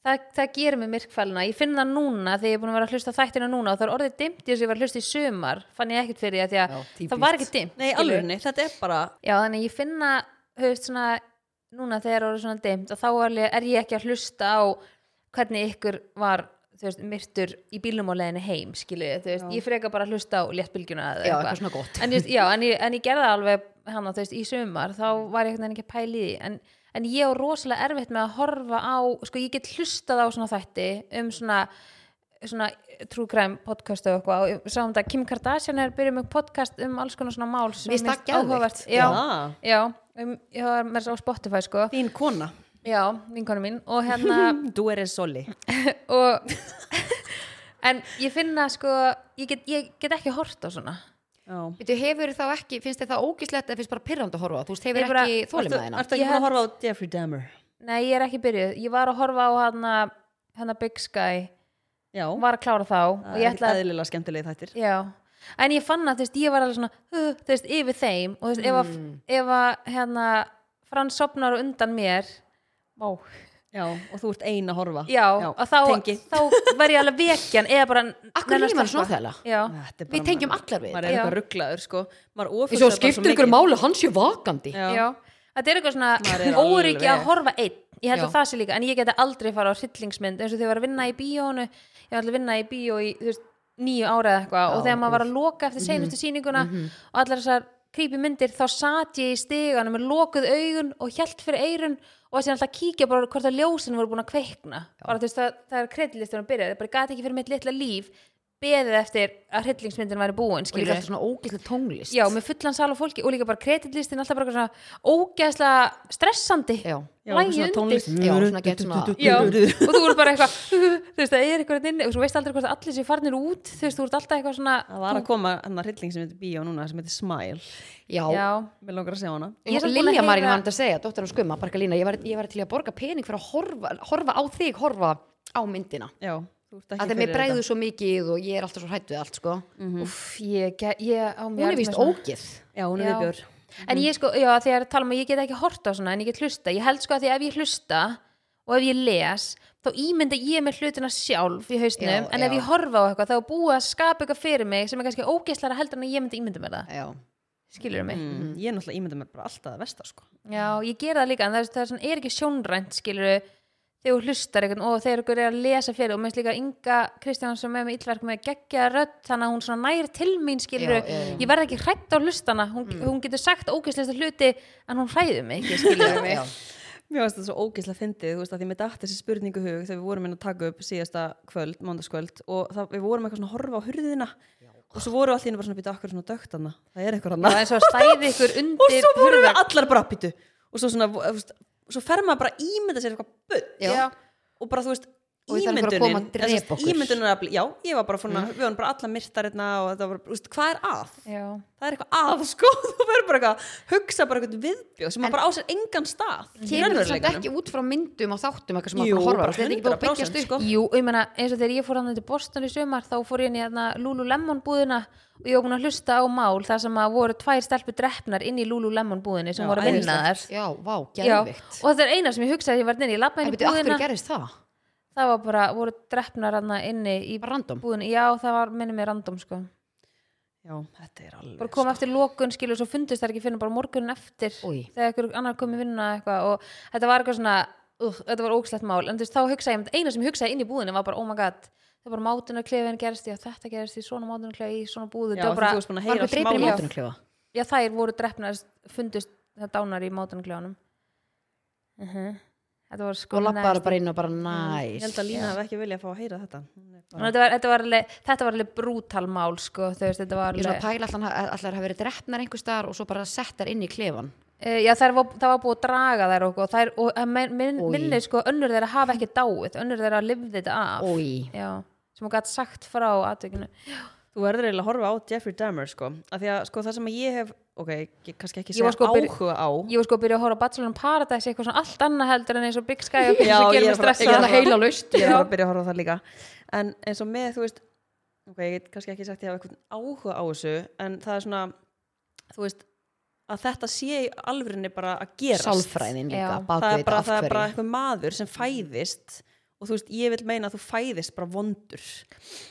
það, það gerir mig myrkfælina, ég finn það núna þegar ég er búin að vera að hlusta á þættina núna og það er orðið dimmt í þess að ég var að hlusta í sömar fann ég ekkert fyrir því að,
Já,
því að það var ekki dimmt
Nei,
skilurðu.
alveg, þetta er bara
Já, þannig að ég finna höfst svona núna þegar orðið svona dimmt og þá alveg er ég ekki að hlusta á hvernig ykkur var þú veist, myrtur í bílum og leiðinni heim skilu, þú veist, ég freka bara að hlusta á léttbylgjuna eða
Já, eitthvað svona gott.
en, ég veist, já, en, ég, en ég gerði það alveg hana, þú veist, í sumar, þá var ég einhvern veginn ekki að pæli því en, en ég á rosalega erfitt með að horfa á, sko ég get hlustað á svona þætti um svona svona true crime podcast og eitthvað og sáum þetta, Kim Kardashian er byrjuð með podcast um alls konar svona mál sem
Mér finnst það geðveikt.
áhugavert.
Já.
já, Já, um, ég var með þess að á Spotify sko
þín kona
Já, vinkonu mín og hérna
Þú eres soli
og, en ég finna sko ég get, ég get ekki hort á svona
Já.
Þú hefur þá ekki, finnst þið það ógíslegt eða finnst bara pirrandi að horfa, á? þú veist,
Ég
hefur
bara-
ekki þólum að
Ertu
hérna
ertu ekki
Ég
búin að horfa á Jeffrey Dahmer?
nei, ég er ekki byrjuð, ég var að horfa á hana, hana Big Sky
Já,
var að klára þá og
það
ég
er
ætla að
eðlilega skemmtilegi þættir
Já, en ég fann að þú veist, ég var alveg svona uh, þú veist, yfir þeim og þú veist, ef að, ef að hérna, Frans sopnar á undan mér Vá,
Já, og þú ert ein að horfa
já, og þá,
tengi.
þá var ég alveg vekjan eða bara
Akkur
nenni að
lífum hann svona
sleppa.
þegar
Já,
Þetta er
Við
bara-
tengjum allar við
maður
þetta.
er
Já.
eitthvað rugglaður sko maður
Ég
ofursa
svo skiptir ykkur máli, hann sé vakandi
já.
já Þetta er eitthvað
Maður er
svona
alveg-
óryggi að horfa einn Ég held
Já.
að það sé líka, en ég geti aldrei fara á hryllingsmynd eins og þegar ég var að vinna í bíónu ég var að vinna í bíó í þú veist, nýju ára eða eitthvað og þegar maður var að loka eftir
Mhm.
seinustu sýninguna og allar þessar creepy myndir þá sat ég í stiganum með lokuð augun og hjælt fyrir eirun og þessi alltaf kíkja bara hvort að ljósin voru búin að kveikna bara þú veist það, það er kredilistunum að byrja það bara gati ekki fyrir mitt litla líf beðið eftir að hryllingsmyndin væri búin
Og líka alltaf svona ógíslega tónlist
Já, með fullan sal og fólki og líka bara kreditlistin alltaf bara eitthvað svona ógeðslega stressandi
Já.
Já,
Lagið
svona
undir.
tónlist
Já, svona gett svona-
Já, og þú ert bara eitthvað þú veist, það er eitthvað þarna inni og þú veist aldrei hvort allir sér farnir út þú veist, þú ert alltaf eitthvað svona
Það var að koma hann að hrylling sem heitir Bíó núna sem heitir Smile
Já,
Já,
Mér langar að segja hana
Ég er samt búin að
Lilja
heyra-
Marín var hann að segja, dóttir hann skumma, bara Lína, ég var, ég var til í að borga pening fyrir að horfa, horfa á þig, horfa á myndina.
Já, þú ert
Að
ekki
þeim er bregðu svo mikið og ég er alltaf svo hrætt við allt, sko.
uff, ég, ge- Mm. ég á mér
Hún
erfitt
er víst
með svona-
ógið.
Já, hún er
Já.
viðbjör
En ég sko, já, því að tala um að ég get ekki horta á svona en ég get hlusta, ég held sko að því ef ég hlusta og ef ég les, þá ímynda ég með hlutina sjálf í hausnum
Já,
en ef
já.
ég horfa á eitthvað, þá er búið að skapa eitthvað fyrir mig sem er kannski ógeðslega heldur en að ég myndi ímynda með það,
Já.
skilur mig
Mm-hmm.
mm. Ég er náttúrulega ímynda mér bara alltaf að vestar sko
Já, ég ger það líka, en það er, það er, svona, er ekki sjónrænt, skilur þegar þú hlustar einhvern og þegar ykkur er að lesa fyrir og minnst líka Inga Kristján sem er með illverk með geggja rödd þannig að hún svona næri til mín skilur
Já, já, Mm. já.
ég verð ekki hrætt á hlustana hún, hún getur sagt ógeðslega hluti en hún hræður mig ekki skilur mig
Já.
Mér varst þetta svo ógeðslega fyndið, þú veist að því með dætt þessi spurningu í hug þegar við vorum inn að taka upp síðasta kvöld, mándagskvöld og það, við vorum eitthvað svona að horfa á hurðina og svo voru allir bara svona býta okkur svona dögt hana, það er eitthvað hana
og eins og stæði ykkur
og
undir
svo voru við
hurðar-
allar bara býtu og svo svona, þú veist, svo fer maður bara að ímynda sér eitthvað bull
Já.
Já.
og bara þú veist,
Og það er bara að koma að
ímyndunin eða sem
drepa
sagt,
okkur.
ímyndunarafli, já, ég var bara fórna, við varum bara alla myrtarinna og þetta var, bara, þú veist, hvað er að?
Já.
Það er eitthvað að, sko, þú verður bara eitthvað hugsa bara eitthvað viðbjóð sem maður bara á sér engan stað í
Kemur þetta samt
raunveruleikanum.
ekki út frá myndum og þáttum eitthvað sem
Mhm. Jú,
maður bara horfa á?
bara
Þetta er ekki bara
100%
að byggjast upp.
sko.
Jú, ég meina, eins og þegar ég fór hann til Boston í sumar, þá fór ég inn í hérna, Lululemon búðina og ég var búin að hlusta á mál þar sem að voru tvær stelpur drefnar inn í Lululemon búðinni
Já,
sem voru að vinna
æðislegt.
þar
Já, vá,
Já,
gerðvikt.
og þetta er eina sem ég hugsaði að ég var inn í, ég lappa
En
inn í
veitu, af hverju
hérna-
búðina
gerðist það?
það var bara, voru drefnar hann inni í
Bara random.
búðinni, já, það var minni mér random sko,
Já, þetta er alveg
bara kom eftir lokun skilur svo fundist það ekki fyrir bara morgunin eftir
Új.
þegar ykkur annar kom í vinna eitthvað og þetta var eitthvað svona, uh, þetta var ógslegt mál en þú veist, þá hugsaði ég, eina sem ég hugsaði inn í búðinni var bara, oh my god, það var bara mátunarklefin gerist, já, þetta gerist, í svona mátunarklefi í svona búðu,
Já, því
það var bara,
þú veist búin að
Var
heyra
einhver dreipin í
smá-
mátunum klefa?
já, þær voru drefnar fundust það dánar í mátunarklefanum uh þetta var sko
Og lappaði
nasty.
bara inn og bara
Ég
næs.
held að Lína hef ekki viljað fá að heyra þetta Hún er bara-
Þetta var, þetta, var alveg, þetta var alveg brútal mál sko, þú veist, þetta var
Ég er svona að
alveg,
pæla allan að allar hafa verið drefnar einhver staðar og svo bara settar inn í klefan.
Eh, já, þær, var- það var búið að draga þær og, og, þær, og að men, minn,
Oj.
minni sko, önnur þeirra hafa ekki dáið önnur þeirra lifði þetta af
Ói.
já, sem hún gætt sagt frá atvikinu
Þú verður eiginlega að horfa á Jeffrey Dahmer sko, af því að sko það sem að ég hef ok, ég kannski ekki
Ég var
segja
sko að
áhuga
byrja-
á
ég var sko að byrja að horfa á Bachelor in Paradise eitthvað svona allt annað heldur en eins og Big Sky og
Já,
sem
ég
gerir mig
er bara-
stressa
ég er bara heila
laust
ég var
já,
að byrja að horfa á það líka en eins og með, þú veist ok, ég get kannski ekki sagt ég hafa eitthvað áhuga á þessu en það er svona, þú veist að þetta sé í alvörinni bara að gerast
Sálfræðin líka,
það
Já.
er
bakveit
bara,
af
það er bara
hverju.
eitthvað maður sem fæðist og þú veist, ég vil meina að þú fæðist bara vondur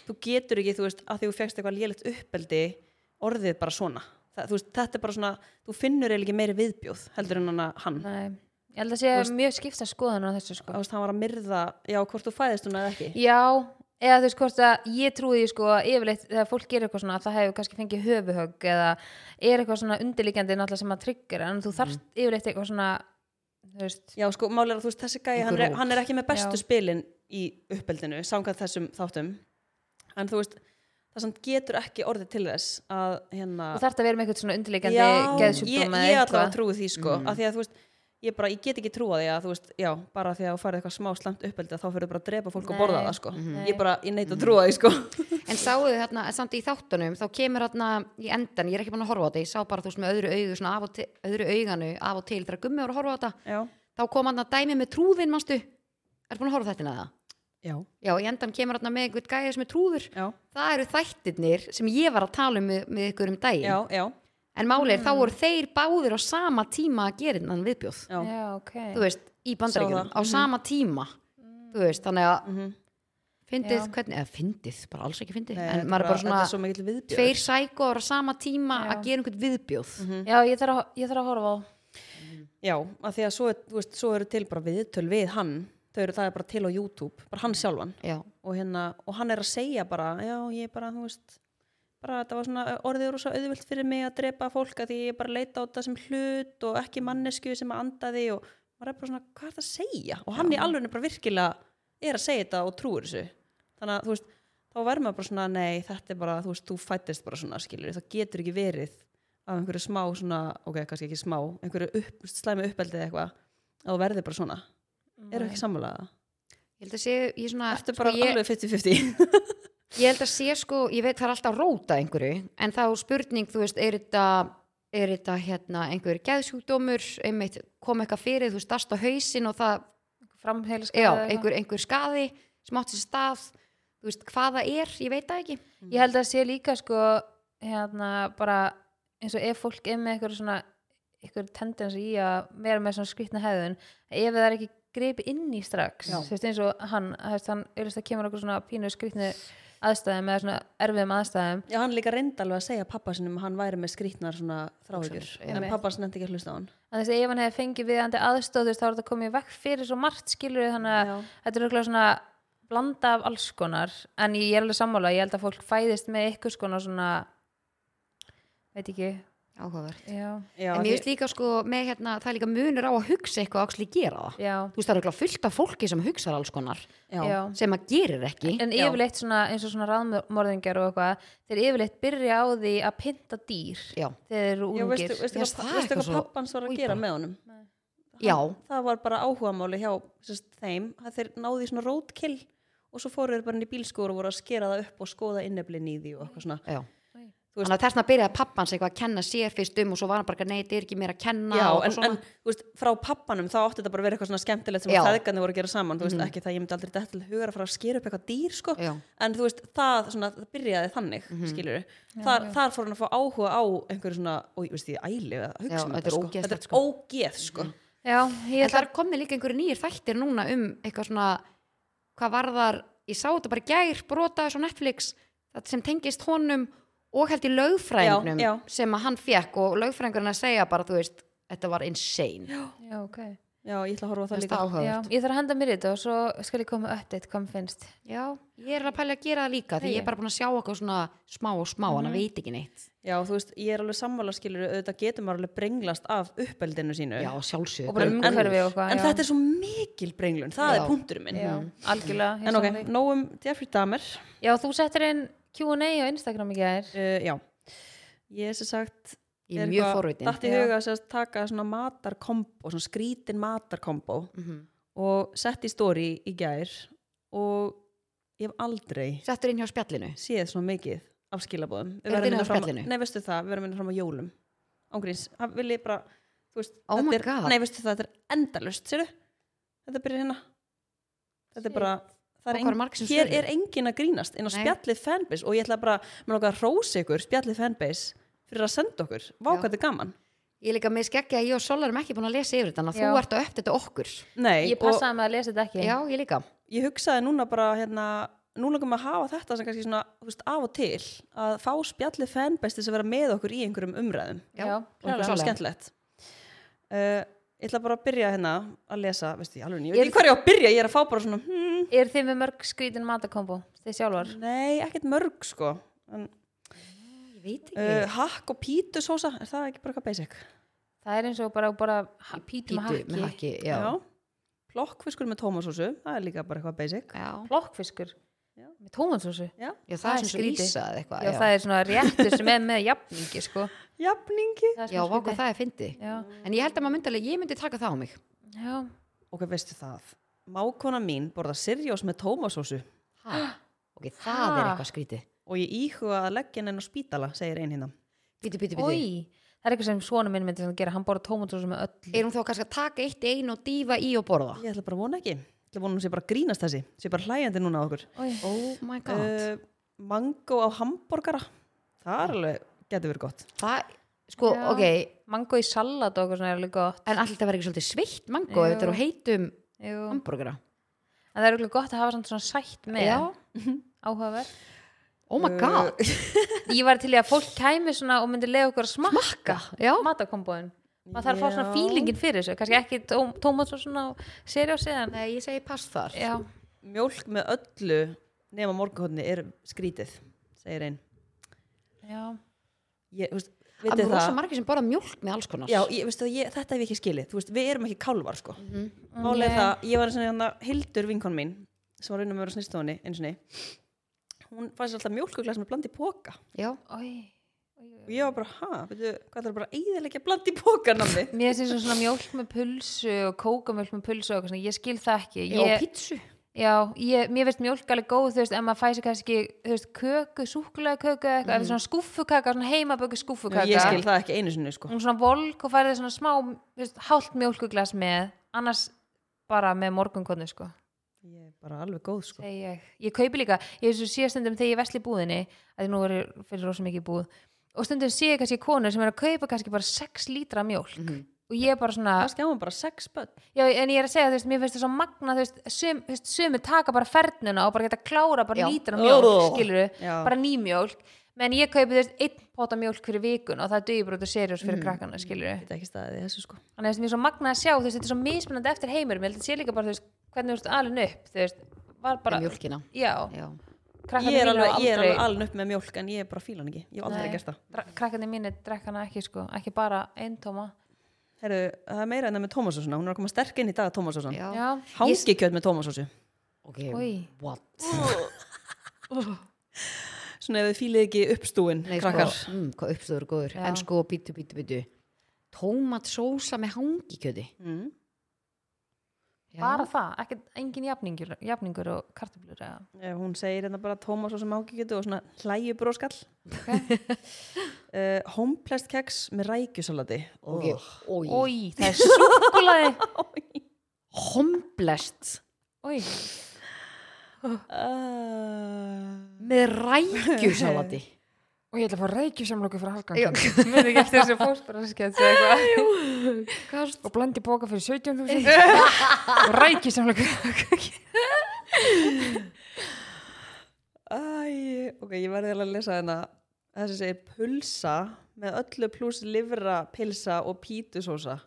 þú getur ekki, þú veist, að því þú fegst eitthvað lélegt uppeldi orðið bara svona það, þú veist, þetta er bara svona, þú finnur eiginlega ekki meiri viðbjóð heldur en hana- hann Nei.
Nei, ég held að sé mjög skipta skoðan á þessu sko
þú veist, hann var að myrða, já, hvort þú fæðist hún eða ekki
Já, eða þú veist hvort að ég trúi því sko að yfirleitt þegar fólk gerir eitthvað svona að það hefur kannski fengið höfuhögg eða er eitthvað svona undirliggjandi náttúrulega sem að tryggur en þú þarft
Mhm.
yfirleitt eitthvað svona þú veist,
já, sko, máli er að þú veist, þessi gæi, hann
Einhver
er,
rót.
hann er ekki með bestu
Já.
spilin í uppeldinu, samkvæmt þessum þáttum en þú veist, það samt getur ekki orðið til þess að hérna,
þú þarft að vera með eitthvað svona undirliggjandi
Já, ég,
geðsjúkdóma
ég allavega trúi því sko, mm. að því að þú veist ég bara, ég get ekki trúa því að þú veist, já, bara því að þú farið eitthvað smá slamt uppeldi að þá fyrir bara að drepa fólk og borða
Nei.
það sko,
Mhm.
ég bara, ég neitt að trúa því sko
En sáuðu þarna, en samt í þáttunum þá kemur þarna í endan, ég er ekki búin að horfa á þetta ég sá bara þú veist með öðru augu, svona af og til öðru auganu af og til þegar gummi voru að horfa á þetta
já,
þá kom hann dæmi með trúðin, manstu Er búin að horfa á þetta neða?
já,
Já, í endan kemur þarna með einhvern gæja sem er trúður
já,
Það eru þættirnir sem ég var að tala um með, með ykkur um daginn
já, já, Mm.
En máli er, þá voru þeir báðir á sama tíma að gera innan viðbjóð
já.
já, ok
Þú veist, í bandaríkjum,
Sá það.
á sama tíma Þú veist, þannig að
Mm -hmm.
fyndið,
Já.
hvernig, eða fyndið, bara alls ekki fyndið En maður er bara svona,
þetta er svo mikill viðbjörn
tveir sækóar á sama tíma
Já.
að gera einhvern viðbjóð
Mm.
Já, ég þarf að, ég þarf að horfa á
Já, af því að svo, er- þú veist, svo eru til bara viðtöl við hann, þau eru það er bara til á YouTube, bara hann sjálfan
Já,
og, hérna, og hann er að segja bara, já, ég bara, þú veist, bara þetta var svona orðið rosa auðvöld fyrir mig að drepa fólk að því ég bara leita á þetta sem hlut og
Mm.
ekki mannesku sem að andaði og maður er bara svona, hvað er það að segja? Og hann í alveg bara virkilega er að segja þetta og trúir þessu. Þannig að, þú veist, þá verður maður bara svona, nei, þetta er bara, þú veist, þú fættist bara svona, skilur, það getur ekki verið af einhverju smá svona, ok, kannski ekki smá, einhverju upp, slæmi uppeldið eða eitthvað, að þú verður bara svona. Eru
Mm,
ekki sammálaða?
ég held að sé, ég svona
Ertu bara
sko, ég,
alveg 50-50?
ég held að sé sko, ég veit það er alltaf að róta einhverju, en þá spurning þú veist, er þetta er þetta hérna einhverjir geðsjúkdómur einmitt kom eitthvað fyrir, þú veist, dast á hausinn og það,
Framheila
já, einhver, einhver skaði sem átti sér stað þú veist, hvað það er, ég veit það ekki
Ég held að sé líka sko hérna bara eins og ef fólk er með eitthvað svona eitthvað tendens í að vera með svona skritna hefðun ef það er ekki greipi inn í strax
Já.
þú veist eins og hann, þú veist, hann auðvitað kemur okkur svona pínu skritni aðstæðum eða svona erfiðum aðstæðum
Já, hann líka reyndi alveg að segja pappa sinum að hann væri með skrýtnar svona þráhyggjur
Hugsanir,
en
einmitt.
pappa sinum nefndi ekki að hlusta á hann
en þess að ef hann hefði fengið viðandi aðstóð þú veist þá er þetta komið vekk fyrir svo margt skilur þannig að þetta er okkur svona blanda af alls konar en ég er alveg sammála, ég held að fólk fæðist með eitthvað skona svona veit ekki
áhugaverð,
já,
Já, því-
en mér veist líka sko með hérna, það er líka munur á að hugsa eitthvað og axli gera það,
já,
þú veist, það er eitthvað fullt af fólki sem hugsar alls konar,
já,
já.
sem að gerir ekki
en
Já.
yfirleitt svona, eins og svona ráðmörðingar og eitthvað, þeir yfirleitt byrja á því að pynta dýr
já,
þegar þeir eru
Já,
ungir
veistu, veistu,
Já,
hvað,
það er
veistu
eitthvað
hvað
svo-
pappan svo var
Új,
að gera
bara.
með honum?
já,
Það var bara áhugamáli hjá sest, þeim að þeir náðu í svona rótkill og svo fóru þeir bara inn í bílskóru og voru að skera það upp og skoða inneblin í því og eitthvað svona
já
Þú veist-
Þannig að þessna byrjaði pappan sig eitthvað að kenna sér fyrst um og svo var hann bara eitthvað, nei, þetta er ekki mér að kenna
Já,
og, og
en,
svona.
en þú veist, frá pappanum þá átti þetta bara að vera eitthvað svona skemmtilegt sem
Já. Mhm.
að feðgarnir voru að gera saman, þú veist, ekki það ég myndi aldrei dætt til hugar að fara að skera upp eitthvað dýr, sko
Já.
en þú veist, það, svona, það byrjaði þannig
Mhm.
mm þar, þar fór hann að fá áhuga á einhverju svona, og ég veist, ég æli að hugsa
Já,
um
þetta er
þetta, sko,
ógeðslegt,
þetta er
sko.
ógeð, sko
já, ég
en það
ætla
er komið líka einhverju nýjir þættir núna um eitthvað svona, hvað varðar, ég sá þetta bara í gær, brotaði svo Netflix, það sem tengist honum og held í lögfræðingnum
Já, já.
sem að hann fekk og lögfræðingurinn að segja bara, þú veist, þetta var insane. Já,
já, okay.
Já, ég ætla að horfa á það
það
líka
já,
áhugavert.
ég þarf að henda mér í þetta og svo skal ég koma með update hvað mér finnst
Já, ég er alveg að pæla að gera það líka því
Nei.
ég er bara búin að sjá eitthvað svona smá og smá, mm hann veit ekki neitt.
Já, þú veist, ég er alveg sammála skilur auðvitað getur maður alveg brenglast af uppeldinu sínu
Já, sjálfsög.
og bara umhverfi og hvað
En þetta er svo mikil brenglun, það
Já.
er punkturinn minn
Mhm.
já, algjörlega ég
En ok,
sammála því.
nóg um Jeffrey Dahmer
já, þú settir inn Q&A á Instagram í gær
uh, Já, ég er sem sagt
Ég er mjög forvitin.
Dætti
Já.
huga að taka svona matarkombo, svona skrítin matarkombo
Mhm.
og sett í stóri í gær og ég hef aldrei
Settur inn hjá spjallinu.
séð svona mikið af skilabóðum
Er þetta inn á
fram,
spjallinu?
Nei, veistu það, við erum minna fram á jólum Ángríns, það vil ég bara þú veist,
Oh
þetta
my
er,
God.
Nei, veistu það, þetta er endalust, sérðu Þetta byrjar hérna Þetta er bara það
Og hvað eru margir sem
Hér
svöruðu?
er engin að grínast inn á
Nei.
spjallið fanbase og ég ætla bara, mér langar að rósa ykkur spjallið fanbase fyrir að senda okkur Vá
Já.
hvað þetta er gaman
Ég er líka með skeggja að ég og Solar erum ekki búin að lesa yfir þetta, þannig að
Já.
þú ert að uppdata okkur.
Nei,
ég
og-
passaði með að lesa þetta ekki
Já, ég líka.
ég hugsaði núna bara hérna, nú langum að hafa þetta sem kannski svona þú veist, af og til að fá spjallið fanbestis að vera með okkur í einhverjum umræðum
Já,
Já,
og það
klálega.
er svona skemmtilegt uh, ég ætla bara að byrja hérna að lesa veistu, ég, alveg, ég veit
Er-
ekki hvað ég á að byrja, ég er að fá bara svona hmm,
er þið með mörg skrítin matakombo þið sjálfar
nei, ekkert mörg sko en,
Ég veit ekki.
uh, hakk og pítusósa, er það ekki bara eitthvað basic
það er eins og bara, bara ha- pítu með hakki,
Pítu með hakki, já.
plokkfiskur með tómasósu, það er líka bara eitthvað basic
Já,
plokkfiskur
Já.
með tómansósu
já,
já það,
Það er
er sem
skrítið.
skrýsa eða eitthvað.
Já, það er svona réttur sem er með jafningi sko.
jafningi
það er smá
Já, vaka
skrítið.
það er fyndið.
Já,
En ég held að maður myndi alveg, ég myndi taka það á mig.
já,
ok, veistu það, mákona mín borða sirjós með tómasósu
Ha? Ok, það er
Ha?
eitthvað skrítið.
og ég íhuga að leggja henni á spítala segir ein hérna
Bíti, bíti, bíti.
oi Það er eitthvað sem svona minn myndi svona gera, hann borða tómatósu með öll
Er hún þá kannski að taka eitt einn og dýfa í og borða?
ég ætla bara að vona ekki, ég ætla að vona hún sé bara að grínast þessi sé bara hlæjandi núna á okkur
Oh my god.
uh, mango á hambúrgara það er alveg, getur verið gott
það, sko,
Já.
ok,
Mango í salat og eitthvað svona er alveg gott
en alltaf verður ekki svolítið sveitt mango ef þetta er á heitum
Jú.
hambúrgara.
En það er alveg gott að hafa samt svona sætt með
Já.
Áhugaverð
Oh my god.
Uh, Ég var til í að fólk kæmi svona og myndi leiða okkur að smakka,
já.
matakombóin maður þarf að fá svona
Já.
fílingin fyrir þessu kannski ekki tó- tómat og svona og serjósi en
Nei, ég segi pass þar.
já,
mjólk með öllu nema morgunhóttni er skrítið segir ein
já,
ég, þú veist,
Það
vitið
er rosa
það
margir sem borða mjólk með alls konar.
Já, ég, veistu, það, ég, þetta hef ég ekki skilið, þú veist, við erum ekki kálvar sko.
Mhm.
mm
Nei.
það, ég var eins og hérna Hildur vinkon mín, sem var raunum að vera snýstofunni eins og ney, hún fæði sér alltaf mjólkuglas með bland í póka
Já.
oi
og ég var bara, ha, veitu, hvað það bara eiðilegja bland í póka námi
Mér finnst eins og svona mjólk með pulsu og kókamjólk með pulsu og eitthvað svona, ég skil það ekki
Já, og
ég,
pítsu.
já, ég, mér finnst mjólk alveg góð þú veist, en maður fæsi kannski, þú veist, köku súkulega köku eitthvað, mm. svona skúffukaka svona heimaböku skúffukaka
ég skil það ekki einu sinni sko.
Mm.
hún svona volk og færði svona smá þú veist, hálft mjólkuglas með annars bara með morgunkonu sko,
ég er bara alveg góð sko.
segi ég ég kaupi líka, ég þessu síðastundum þegar ég vesli búðinni að því nú er ég fyrir rosa mikið í búð og stundum sé ég kannski konur sem er að kaupa kannski bara 6 lítra af mjólk
Mhm.
og ég er bara svona,
kannski á hann bara sex börn
já, en ég er að segja þú veist, mér finnst það svo magna, þú veist, sum, þú veist sömu taka bara fernuna og bara geta klára bara
Já.
lítra af mjólk,
Ugh.
skilur
Já.
bara nýmjólk, menn ég kaupi þú veist einn pota mjólk fyrir vikun og það dögi bara út og seriós fyrir
Mm.
krakkana, skilur
Ég get ekki staðið í þessu sko
þannig að það er svo magna að sjá þú veist, þetta er svo mismunandi eftir heimurum ég held að þetta sé líka bara þú veist, hvernig þú ert alveg upp þú veist, var bara,
Með mjólkina.
já,
Já.
Ég
krakkarnir
er
mínu
alveg, ég er alveg
aldrei
alveg upp með mjólk en ég er bara fílan ekki, ég hef aldrei
Nei.
gert það
dra- krakkarnir mínu drekkana ekki sko, ekki bara einn tóma
Heru, Það er meira en það með tómasósuna, hún er að koma sterk inn í dag tómasósan
Já.
já,
Hangikjöt með tómasósu
Ok,
Oj.
what?
Svona ef þið fílið ekki uppstúin
Nei,
krakkar
Sko, mm, hvað uppstöður góður.
Já.
En sko, bítu, bítu, bítu. Tómatsósa með hangikjöti.
mm.
Já.
bara það, ekki, engin jafningur, jafningur og kartöflur eða
Eh, Hún segir hérna bara tómasósu með hangikjötu og svona hlæju bróskall okay. uh, Homeplast keks með rækjusalati
Ok,
oh.
oi.
oi, það er súkulaði
Homblest
oi,
uh,
með rækjusalati.
og ég ætla að fá reykjusamlóku fyrir halgan mér ekki eftir þessu fósbaraskett og blandi bóka fyrir 17.000 og reykjusamlóku
Æ, ok, ég verði alveg að lesa hérna þessi segir pulsa með öllu pluss livra, pilsa og pítusósa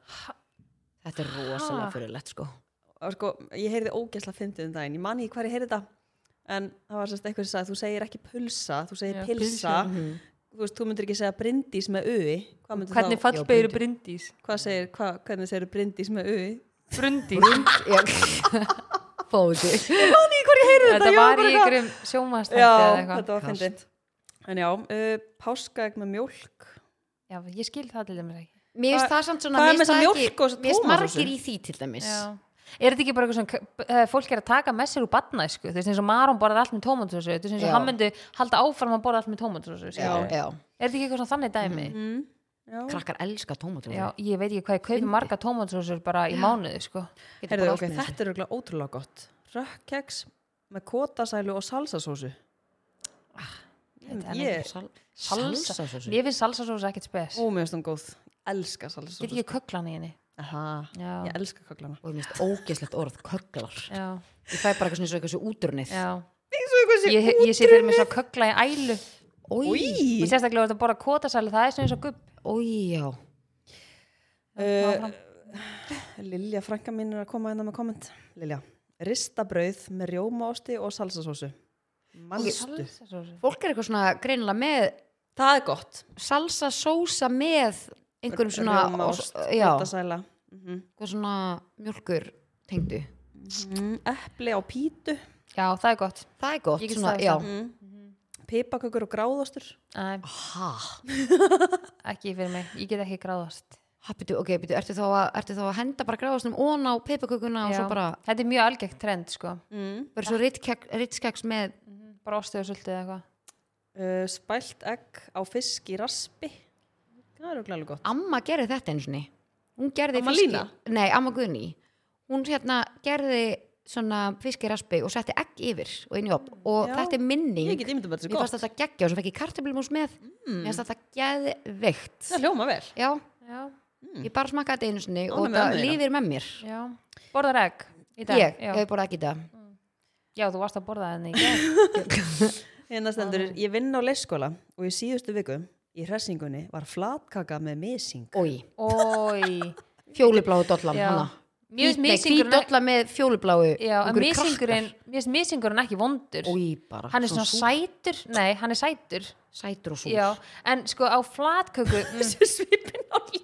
Þetta er rosalega
Ha?
fyrirlegt, sko.
og sko, ég heyrði ógesla fyndið um daginn, ég man ekki hvar ég heyrði þetta en það var sérst eitthvað sem sagði þú segir ekki pulsa, þú segir
Já, mhm.
pilsa þú veist, þú myndir ekki segja brindís með uði hvað myndir
hvernig
þá,
fallbegir brindís
hvað segir, hva, hvernig segir brindís með uði
Brundís
Já. Fóði.
manni hvar ég heyrði
Þetta
þetta,
var í
ég bara
ykkurum sjómaðstætti
já,
eða eitthvað
þetta var fyndið en já, uh, páskaegg með mjólk
Já, ég skil það til dæmis ekki
Mér finnst
Hvað-
það samt svona,
hvað er
mér
með
finnst
þessa
það
mjólk og
ekki,
þessa
mér finnst
tómatsósu?
margir í því til dæmis.
Er þetta ekki bara eitthvað svona, eh, fólk er að taka með sér úr barnæsku, þú veist eins og Maron borðar allt með tómatsósu, þú veist eins og
Já.
hann myndi halda áfram að borða allt með tómatsósu,
Já,
skilur
já.
Er þetta ekki eitthvað svona þannig dæmi?
mm. já.
Krakkar elska tómatsósu.
Já, ég veit ekki hvað, ég kaupi marga tómatsósur bara í mánuði, sko
Getur
Herðu,
bara
ok,
allt með
þetta er auðvitað ótrúlega gott. Rökkkeks með kótasælu og salsasósu. Ah,
þetta er
Ég,
þessu. Sal-
Salsa-
Salsasósu.
Mér finnst salsasósa ekkit spes
ó, mér finnst hún góð. Elska
Get
salsasósu.
ekki köklan í henni
Aha,
Já.
ég elska kaklana.
og ég minnst ógeslegt orð kögglar
Já,
ég fæ bara eitthvað svona eins og eitthvað svo úturnið
já
Svo eitthvað sé
Ég, ég sé fyrir mig svona kökla í ælu
oi,
og
Í!
sérstaklega voru að borða kótasælu, það er svona eins og gubb
oi, já Eh,
Uh, Lilja, frænka mín er að koma hérna með komment. Lilja, ristabrauð með rjómaosti og salsasósu. Manstu.
Salsasósu.
fólk er eitthvað svona greinilega með
Það er gott.
salsa sósa með einhverjum svona
Rjómaost,
og- já,
kótasæla. Mm
eitthvað svona mjölkur tengdu
Epli á pítu.
Já, það er gott
það er gott
Ég get
Mm.
svona,
staðist
já,
það.
pipakökur og gráðastur
Æ,
Hæ?
ekki fyrir mig, ég get ekki gráðast
Hæ, byrju, ok, byrju, ertu þá að, ertu þá að henda bara gráðastum ón á peipakökuna og
Já.
svo bara
Þetta er mjög algegt trend sko
mm.
verður svo rittkek- ritskeks með
Bara ostu og sultið eða eitthvað
uh, Spælt egg á fisk í raspi Það er auðvitað alveg gott
Amma gerði þetta eins og ni Hún gerði
Amma
fiski-
Lína?
Nei, Amma Guðni Hún hérna gerði svona fiskiraspi og setti egg yfir og inn í opn og
Já.
þetta er minning
Ég get ímyndum að þetta
Mér
er gott
fannst þetta geggja og svo fekk ég kartöflumús með Mér fannst þetta geðveikt
Það hljóma
Mm.
vel
Já,
Já, Mm.
ég bara smakkaði þetta einu sinni
Ánægð
og
með
það
ömmu þína.
lifir með mér
já Borðar egg í dag
Ég, Eh.
já.
ég hef bara ekki þetta
já, þú varst að borða henni í dag
Hérna stendur, ég vinn á leikskóla og í síðustu viku í hressingunni var flatkaka með mising
Ói,
Ói
fjólubláu dollan
Já.
hana
Mér finnst
Hvít- nei, hvít
misingurinn
dolla með fjólubláu
Já, en
einhverju
misingurinn Mér finnst misingurinn ekki vondur
krakkar. Ói, bara
Hann er svona
súr-
sætur Nei, hann er sætur
sætur og súr
Já, en sko á flatköku mm,
Svipin á líf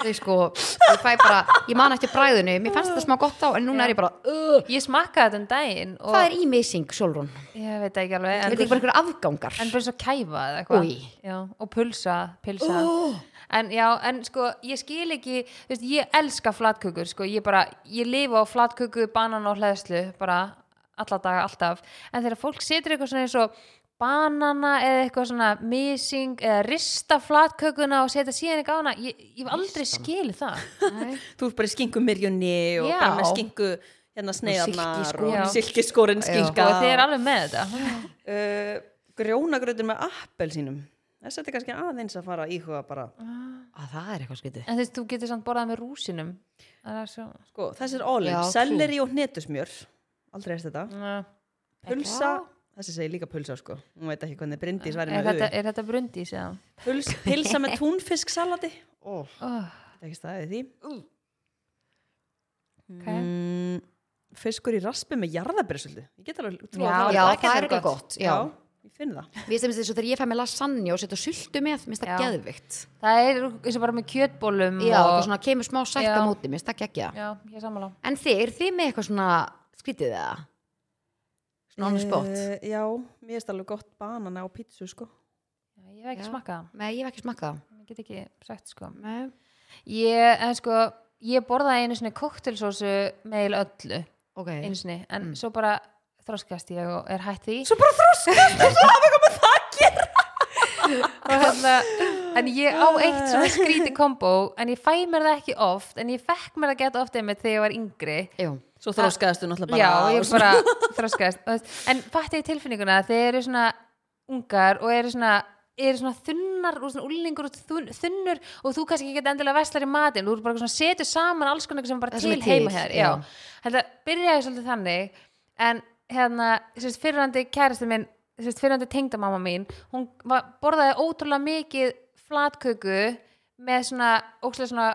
Þau sko, ég fæ bara ég man eftir bræðinu, mér fannst þetta smá gott á en núna er ég bara, uh,
Ég smakkaði þetta um daginn og
hvað er í mising Solrún?
Ég veit það ekki alveg
Er
En,
þetta ekki bara einhverju afgangar?
en bara svo kæfa eða eitthvað
Új.
Já, Og pulsa, pilsa En já, en sko, ég skil ekki þú veist, Ég elska flatkökur, sko Ég bara, ég lifa á flatköku, banan og hleðslu Bara alla daga, alltaf En þegar fólk setur eitthvað svona eins og banana eða eitthvað svona mising eða rista flatkökuna og setja síðan eitthvað á hana ég, ég hef aldrei skil það
Nei.
Þú ert bara í skinku myrjunni og
Já.
bara með skinku hérna sneiðarnar
silkiskór.
og silkiskórin skinka
og Sko, þið er alveg með þetta
uh, Grjónagröður með appelsínum Þess að þetta er kannski aðeins að fara að íhuga bara Ah.
Að það er eitthvað skytið
En þú veist, þú getur samt borðað með rúsinum Það er svo
sko, Þessir óleik,
Já,
selleri og hnetusmjör Aldrei eftir þetta
uh,
Pulsa, þessi segir líka pulsa sko Hún veit ekki hvernig brindis væri
er,
með
þetta,
þetta...
er þetta brundís eða?
Puls, Pilsa með túnfisksalati Ó,
Oh,
þetta er ekki staðið því
okay.
mm, Fiskur í raspi með jarðabyrsuldu Ég get alveg trúað
Já,
að væri
Já, það
gott.
er eitthvað gott, já.
ég finn það
Mér finnst þess að þegar ég fæ með lasagne og setja sultu með, mér finnst það
Já.
geðvikt.
Það er eins og bara með
Mm.
kjötbólum
Já,
og,
það svona kemur smá sætt á
Já.
móti, mér finnst það geggja.
Já, ég er sammála
En þið, er þið með eitthvað svona skytið eða? Svona ánum spott?
Eh, Já, mér finnst alveg gott banana á pítsu sko
Já, Ég hef ekki
Já.
smakkað það,
Nei, ég hef ekki smakkað.
ég get ekki sagt sko
Nei.
Ég, en sko, ég borðaði einu sinni koktelsósu með eiginlega öllu
Ok.
einu sinni, en svo bara þroskast ég og er hætt því
Mm. Svo bara þroskast og svo hafa eitthvað með það að gera
og hérna, en ég á eitt svona skríti kombo, en ég fæ mér það ekki oft, en ég fekk mér það gett oft einmitt þegar ég var yngri
Jú.
Svo þroskaðast þú náttúrulega
Já,
bara
ég bara þroskaðist Og veist, En fatti ég tilfinninguna að þeir eru svona ungar og eru svona eru svona þunnar og svona úlningur og þun, þunnur og þú kannski ekki geta endilega veslar í matinn, þú eru bara svona setur saman alls konar sem er bara
Það sem
til
er til,
heima hér já.
já.
Þetta byrjaði svolítið þannig en hérna, sérst, fyrrandi kærasti minn, sérst, fyrrandi tengdamamma mín hún var, borðaði ótrúlega mikið flatköku með svona, ókslega svona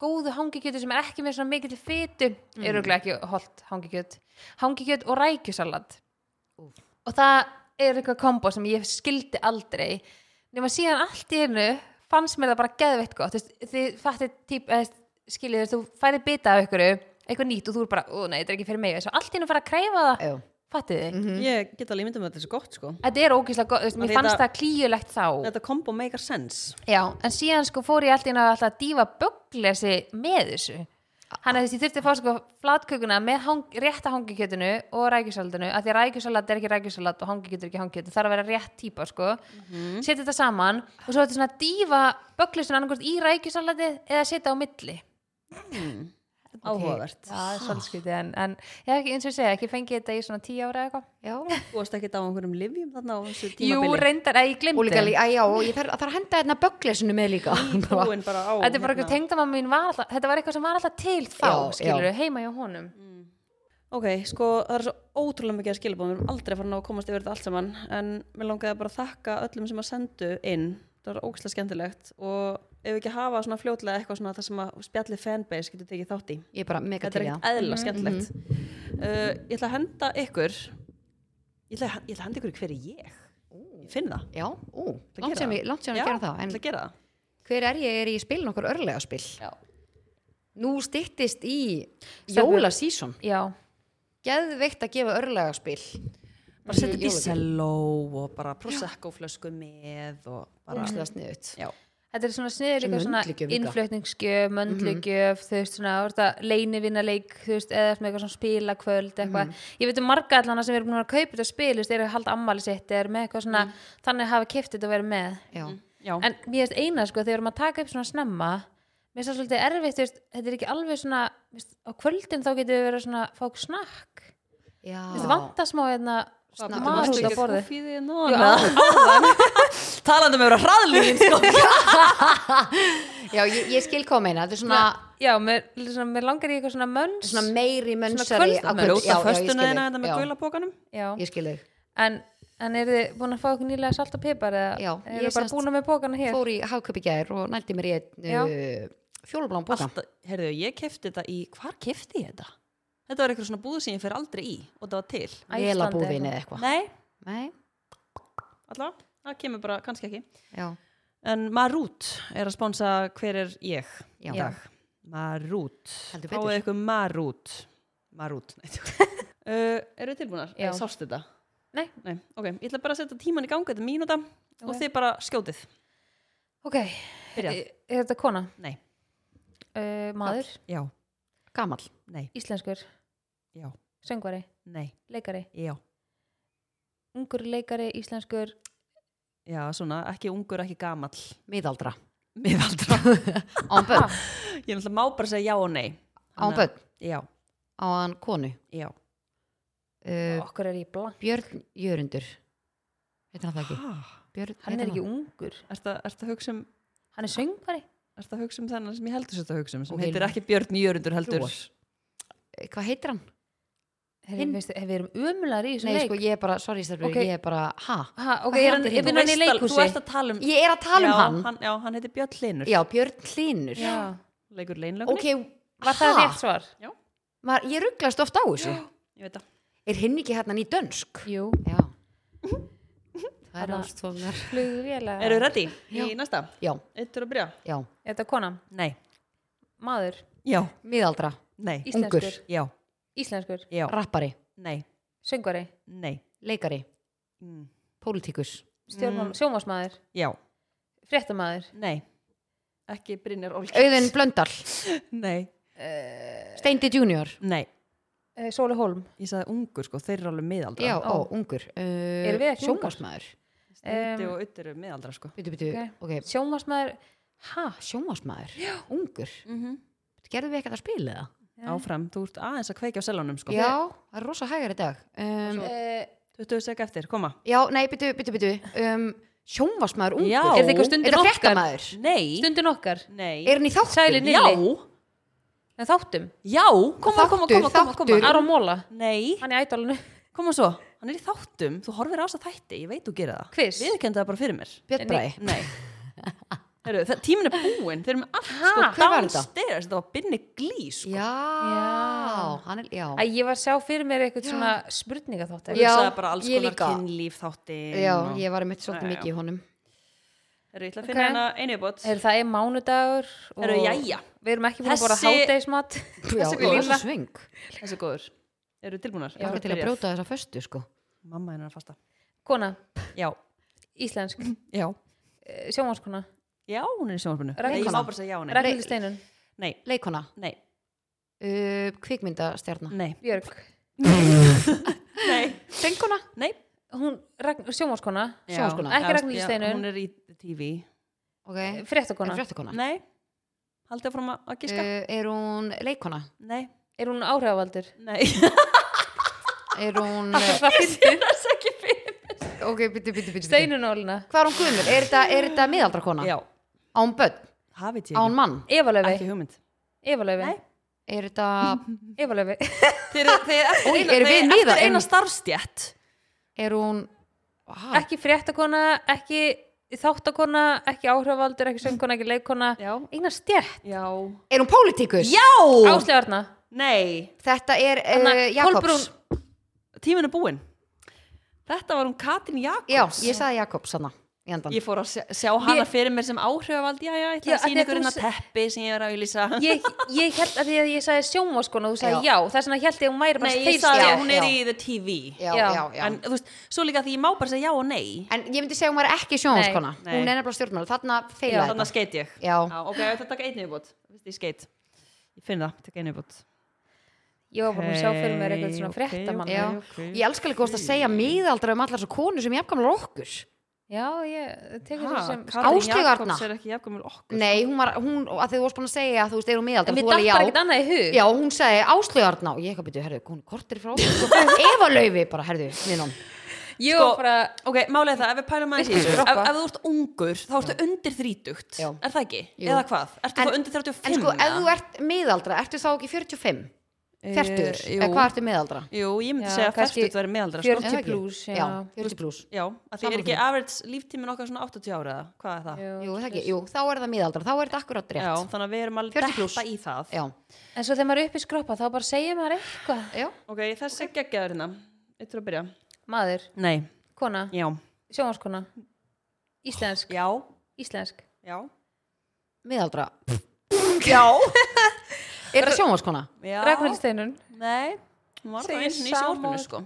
góðu hangikjötu sem er ekki með svona mikið til fytu mm. öruglega ekki holt hangikjöt hangikjöt og rækjusalat og það er eitthvað kombo sem ég skildi aldrei nema síðan allt í einu fannst mér það bara geðveitt gott Þú veist, þið fattið típ eða skiljið þú veist, þú færið bita af ykkur eitthvað nýtt og þú er bara, ó nei, þetta er ekki fyrir mig svo allt í einu fara að kreifa það,
Jú.
fattið
Mhm.
þið
Ég get alveg myndum að þetta er svo gott sko
þetta er ógeðslega gott, þú veist, mér
Þetta-
fannst það klíulegt þá
Þetta kombo make a sense
Já, en síðan sko fór ég alltaf inn að alltaf dýfa bögglesi með þessu Þannig að þessi þurfti að fá sko flatkökuna með hang, rétta hangikjötinu og rækjusaldinu af því að rækjusalat er ekki rækjusalat og hangikjötur er ekki hangikjötur, þarf að vera rétt típa sko setja þetta saman og svo þetta svona að dýfa bögglesinu annarkvort í rækjusalati eða setja á milli
Hmm. Áhugavert
Það er svolítið skrítið en, en ég hef ekki, eins og ég segja, ekki fengið þetta í svona tíu ára eða eitthvað
Já.
Þú varst ekki á einhverjum livjum þarna á þessu
Jú,
tímabili
reyndar, eða ég
Og líka,
glimti
lí- æ, já, og ég þarf þarf að henda hérna bögglesinu með líka. Bara-
Búin bara á
Þetta er bara eitthvað tengdamamma mín var alltaf, þetta var eitthvað sem var alltaf til þá,
Já,
skilur
já.
heima hjá honum.
Ok, sko, það er svo ótrúlega mikið að skilabóð við erum aldrei að fara að ná að komast yfir þetta allt saman en mér langaði bara að þakka öllum sem að sendu inn það var ógæslega skemmtilegt og ef við ekki hafa svona fljótlega eitthvað svona það sem að spjallið fanbase getur tekið þátt í
Ég er bara mega
þetta
til
er
í það.
ekkert eðla skemmtilegt uh, Ég ætla að henda ykkur ég ætla, að- ég ætla að henda ykkur í hver er ég ég finn það
Já, ú,
Ætla að
langt
gera
sem
það.
ég langt síðan
Já,
að gera það en
ætla að gera það
hver er ég er í spilin okkur örlega spil
Mm.
Já.
Nú styttist í
Stelpur.
jólasísón
Já,
Geðveikt að gefa örlega spil
bara setja
Í
upp í
jólagjöf.
selló og bara prosecco flösku með og bara
Ógeðslega sniðugt.
Mhm. já,
Þetta er svona sniður líka
Sem
svona
möndlugjöf líka. Mhm.
innflutningsgjöf, möndlugjöf, þú veist svona, þú veist að leinivinnaleik, þú veist, eða svona eitthvað svona spilakvöld, eitthvað.
Mhm.
Ég veit um marga allana sem eru búin að kaupa þetta spil, þú veist, eru að halda ammali sitt, eru með eitthvað svona, þannig að hafa keft þetta að vera með.
Mhm. Já.
já.
En mér veist eina, sko, þegar maður taka upp svona snemma, mér finnst það svolítið erfitt, þú veist, þetta er ekki alveg svona, þú veist, á kvöldin þá getur við verið svona, að fá okkur snakk,
Já.
þú veist, vanta smá, hérna,
Snakk.
mat út
Varstu ekki
á
sko
borðið.
talandi um að vera hraðlíðin sko.
Já, ég, ég skil hvað meina, þetta er svona,
Já, mér, svona, mér langar í eitthvað svona mönns.
svona meiri mönnsari
kvöldmatur.
með
já,
ljóta
já, ég skil
föstuna þina þetta
þig.
hérna með
Já,
gulapókanum
Já.
Ég skil þig.
En, en eru þið búin að fá okkur nýlega salt og pipar eða
Já,
eru
ég
þið bara
semst-
búin með bókana hér?
Fór í hagköp í gær og nældi mér í einn
Já.
uh, fjólublán bóka.
Alltaf, heyrðu, ég kefti þetta í, hvar kefti ég þetta? Þetta var eitthvað svona búð sem ég fer aldrei í og það var til.
Æslandi
Velabúðin
eitthvað.
eða eitthvað.
Nei,
Nei,
allavega, það kemur bara kannski ekki.
já,
En Marút er að sponsa hver er ég
Já.
í dag. Marút.
Heldur betur.
Fáið ykkur Marút. Marút, nei. uh, eru tilbúinar?
Já.
Nei, Sástu þetta?
Nei.
Nei, ok. Ég ætla bara að setja tíman í gangi, þetta er mínúta
Ok. Eh,
og þið bara skjótið.
Ok,
Byrjað.
er, er þetta kona?
Nei.
Uh, maður?
Já.
gamall.
Nei.
Íslenskur?
Já.
Söngvari?
Nei.
Leikari?
Já.
Ungur leikari, íslenskur?
Já, svona, ekki ungur, ekki gamall.
Miðaldra.
Miðaldra.
Án börn,
Ég náttúrulega má bara segja já og nei.
án
Þannig að-
börn,
Já,
á hann konu.
já.
Uh,
Okkur er í blank.
Björn Jörundur. Heitir hann það ekki? Björn,
Hann
heitir
er ekki ungur.
Ertu að- ertu að hugsa um
Hann er söngvari?
ertu að hugsa um þennan sem ég heldur þetta að hugsa um sem
Og
heitir
Hilmar.
ekki Björn Jörundur heldur
Flúor. Hvað heitir hann?
Hinn.
Hinn.
Veistu, ef við erum umular í þessum
Nei,
leik.
sko, ég er bara, sorry, Stærfur,
Ok.
ég er bara, ha?
ha, ok,
Hvað
er hann,
heitir
er
hinn?
vinnan í
Veist að- Þú
leikhúsi?
ert að tala um
Ég er að tala
já,
um hann.
Já, hann heitir Björn Hlinur
Já, Björn Hlinur.
Já.
Leikur leinlögunni
Ok,
Var það
ha?
rétt svar?
Maður, ég rugglast ofta á þessu.
Ég veit það
Er hinn ekki hérna ný dönsk?
Jú.
Já. Það er
Þarna-
ástofnar.
Flugvélag.
Eru ready í næsta?
Já,
Eittur að byrja?
já.
Er þetta kona?
Nei
Maður?
Já,
Miðaldra,
nei
Íslenskur?
Ungur.
Já,
Íslenskur?
já,
rappari,
nei,
Söngvari?
nei
leikari,
Mm,
pólitíkus,
Stjórnmál, sjómasmaður,
Já,
fréttamaður
nei Ekki Brynjar Olkins
Auðun Blöndal,
Nei,
Steindi Junior.
nei
uh,
Eh,
Sóli Holm,
Ég sagði ungur sko, þeir eru alveg miðaldra
Já, ó, ungur. Uh,
Erum við ekki ungar?
Sjónvarsmaður.
Steindi
em,
og Utter eru miðaldra sko
Byttu, byttu, ok.
sjómasmaður
Ha, sjónvarsmaður? Já. Ungur. Gerðum við ekkert að spila það?
Áfram, þú ert aðeins að kveikja á selunum sko
Já, það er rosa hægar í dag. Um,
uh,
20 sek eftir, koma
já, nei, byttu, byttu, byttu. Um, sjónvarsmaður, ungur.
Já.
Er þetta eitthvað
Er
stundin
þetta
okkar?
fréttamaður?
Nei,
Stundin okkar,
nei
Er hann í þáttum?
Sælir
Já,
Nilli. en þáttum
já, koma, koma,
Þáttur,
koma, koma, koma.
þáttur.
Aron Móla,
Nei,
hann í ædolinu
koma svo, hann er í þáttum, þú horfir á þess að þætti, ég veit þú gera það
Quiz.
Við kenda það bara fyrir mér
Björn Bræði.
Nei Heru, það, Tímin er búinn, þeir eru með allt sko
hver var þetta?
downstairs, þetta var binni glý sko.
Já,
Já.
hann er, já.
Æ, Ég var að sjá fyrir mér eitthvað svona spurninga þátt
Já,
Það er bara alls
ég
konar
líka.
kynlíf þátti
Já, ég var einmitt svolítið
Já, já,
mikið í honum.
Heru, ég ætla að
Ok.
finna hérna hana einu bótt
Er það er mánudagur og
Heru, jæja.
Við erum ekki búin að bóra
Þessi-
hátdeismat
Já,
Þessi
og
lína.
þessi sveng.
Þessi er góður Eru tilbúnar?
Ég var til að
Byrjað.
brjóta þessa föstu, sko.
Mamma hennar er að fasta
Kona,
Já,
íslensk, eh,
já
sjómaskona
Já, hún er í sjónvarpinu Nei,
Ragnhildur.
Ég má bara segja já henni
Ragnhildur Steinun,
Nei,
Leikona,
nei,
uh, kvikmyndastjarna.
nei
Björg
Nei,
Sönguna?
nei
Hún, Ragn, sjómaskona,
Já.
sjómaskona. ekki
Já,
Ragnhildur
já,
Steinun
Hún er í TV
Ok.
Eh,
fréttakona,
Er fréttakona?
Nei, haldið áfram að að giska
Uh, er hún leikona?
Nei,
er hún áhrifavaldur
nei
Er hún... eh,
Hvað fyndi?
Það er ekki fyrir
ok, byttu, byttu, byttu.
Steinun Ólina
Hvað er hún guðmur? Er þetta, er þetta miðaldrakona?
Já,
Án börn?
það veit ég
Án
ekki
mann?
Eva Laufey
Ekki hugmynd
Eva Laufey
Nei.
Er þetta...
Eva Laufey
Þeir eru þeir eru eftir
Oj,
eina-
eru
þeir
við
eru eftir
miðað
eina
einmitt?
starfstjætt
Er hún... Ah,
ekki fréttakona ekki þáttakona ekki áhrifavaldur ekki söngkona ekki leikona
Já.
eignar stjætt
Já
er hún pólitíkus?
Já
Ásli Arna
Nei,
Þetta er uh,
Anna,
Jakobs.
Kolbrún-
tíminn er búinn Þetta var hún Katrin Jakobs
Já, ég sagði Jakobs hana. í andan
Ég fór að sjá- sjá hana
Ég-
fyrir mér sem áhrifavald, já, já, ég ætla
Já,
að
af því
sína
að þú
ykkur hennar
s-
teppi sem ég er að auðlýsa.
ég, ég held að því að ég sagði sjónvarskona og þú sagði já,
Já.
það er svona held ég að hún væri
Nei,
bara
ég
þeir
sagði
já,
að hún er
já.
í the TV.
já,
Já.
já, já.
En þú veist, svo líka því ég má bara segja já og nei.
En ég myndi segja að hún var ekki sjónvarskona
Nei, nei.
Hún er nefnilega stjórnmála, þarna
Já,
feila
Þannig að skeit ég.
Já.
ok, þetta taka einu viðbútt. Ég skeit. Ég finn það, taka einu viðbútt.
ég var bara búin að sjá fyrir mér eitthvað svona
Ok, ok,
fréttamann
Já,
ok.
ég elskar líka góðst að segja miðaldra um allar svo konur sem jafnkamlar okkur
já, ég tekur
Ha,
þessu sem
Katrín
Áslaug
Jakobs
Arna.
er ekki jafnkvæmul okkur.
Nei, hún var, hún, og að þið varst búin að segja að þú veist, er hún miðaldra
en mér
þú alveg
datt bara ekkert annað í hug
Já, hún sagði áslögarna og ég eitthvað byrju, herðu, hún er kortir frá okkur sko. Eva Laufi bara, herðu, minnum
ég
Sko-
var bara,
Ok, málega það, ef við pælum aðeins í þessu
Droppa.
ef, ef þú ert ungur, þá ertu undir þrítugt
Já.
Er það ekki?
Jú.
Eða hvað? Ertu
En-
þá undir 35?
En sko, ef
eða?
þú ert miðaldra, ertu þá ekki 45?
Eh,
40?
jú.
Eða hvað ertu miðaldra?
Jú, ég myndi
Já,
segja að
kannski
ferstugt væri meðaldra sko.
40
Er það ekki?
plús, já.
já 40 pluss
Já, að því er ekki average líftíminn okkar svona 80 ára eða hvað er það?
Jú, er það ekki, jú, þá er það miðaldra, þá er þetta akkurat
Já,
rétt
þannig að við erum alveg
40 plús.
detta í það
Já,
en svo þegar maður er uppi skroppa þá bara segja maður eitthvað
já,
Ok, þessi okay. geggjaður hérna Eittur að byrja
maður,
Nei,
kona,
já
sjónvarskona íslensk,
Já,
íslensk
já
miðaldra
Já,
Er það sjónvarskona?
já.
Ragnhildur Steinun,
Nei, hún var það
Segir
eins og í
sama-
sjónvarpinu sko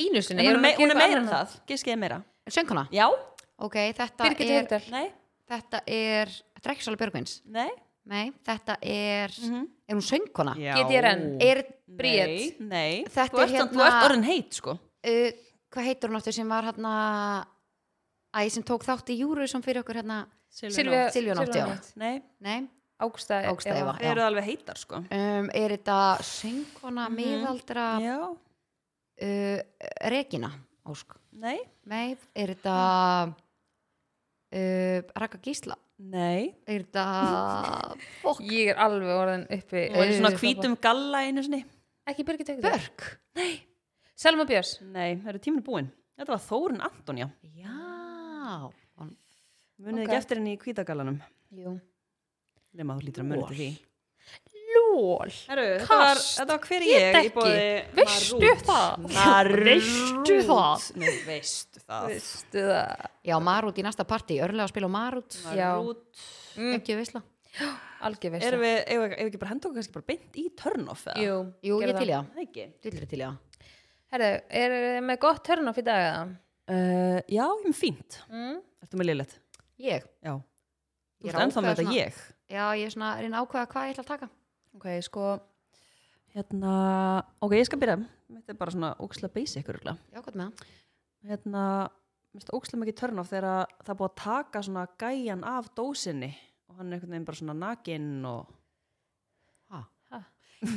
einu sinni
Nei, hún
ég
er,
var
me
að gefa
hún er
eitthvað
meira en
annað.
það, giskið er meira
Söngkona?
Já,
Ok, þetta
Birgit
er,
Haugdal,
nei,
þetta er, þetta er ekki svolítið Björgvins
nei
Nei, þetta er,
Mhm.
er hún söngkona?
GTRN.
Er,
Nei,
Bríet.
nei.
Þetta
þú
er
ert, hérna...
hérna-
ert orðin heit sko
uh, hvað heitur hún aftur sem var hérna Æ, sem tók þátt í júru sem fyrir okkur hérna
Silvía-
Nótt. Silvía Nótt,
Silvía
já.
Nótt.
Nei,
Nei,
Ágústa
Ágústa Eva.
þeir eru alveg heitar sko
um, er þetta söngkona, miðaldra
Já,
uh, Regina Ósk
nei,
Nei, er þetta uh, Raka Gísla
nei
er þetta Fokk,
ég er alveg orðin uppi
Hún var í svona
Uppi skroppa.
hvítum galla einu sinni
ekki Birgit Haugdal,
Börk
Selma Björns
Nei, það eru tíminu búinn Þetta var Þórun Antonja
Já Hún-
Munið
Ok.
ekki eftir henni í hvítagallanum
Jú.
Lema þú lítur að munið til því
lól
Heru, þetta, var,
Kast.
þetta var hver
Ég
ég,
ekki.
í bóði
Veistu það?
Veistu það? Nú veistu það
veistu það
Já, Marút í næsta partí, örlega að spila á Marút
Já.
Marút
Mm.
ekki veisla
algjör
Erum
veistu
við, ef við ekki bara henda okkur kannski bara beint í turn-off eða?
Jú,
Jú, ég til í það,
Það ekki
til í það
Herðu, er með gott turn-off í dag eða?
Uh, já, ég er með fínt.
Mm?
Ertu með liðlegt?
Ég,
Já.
Ég
Þú
er
ert ennþá hérna. með
ákveða
þetta
svona-
ég.
já, ég er svona að reyna að ákveða hvað ég ætla að taka
Ok, sko, hérna, ok, ég skal byrja. Þetta er bara svona óksla basic örgulega.
Já, gott með það
Hérna, mér finnst óksla mikið törn á þegar að það er búið að taka svona gæjan af dósinni og hann er einhvern veginn bara svona nakinn og...
Ha.
Ha.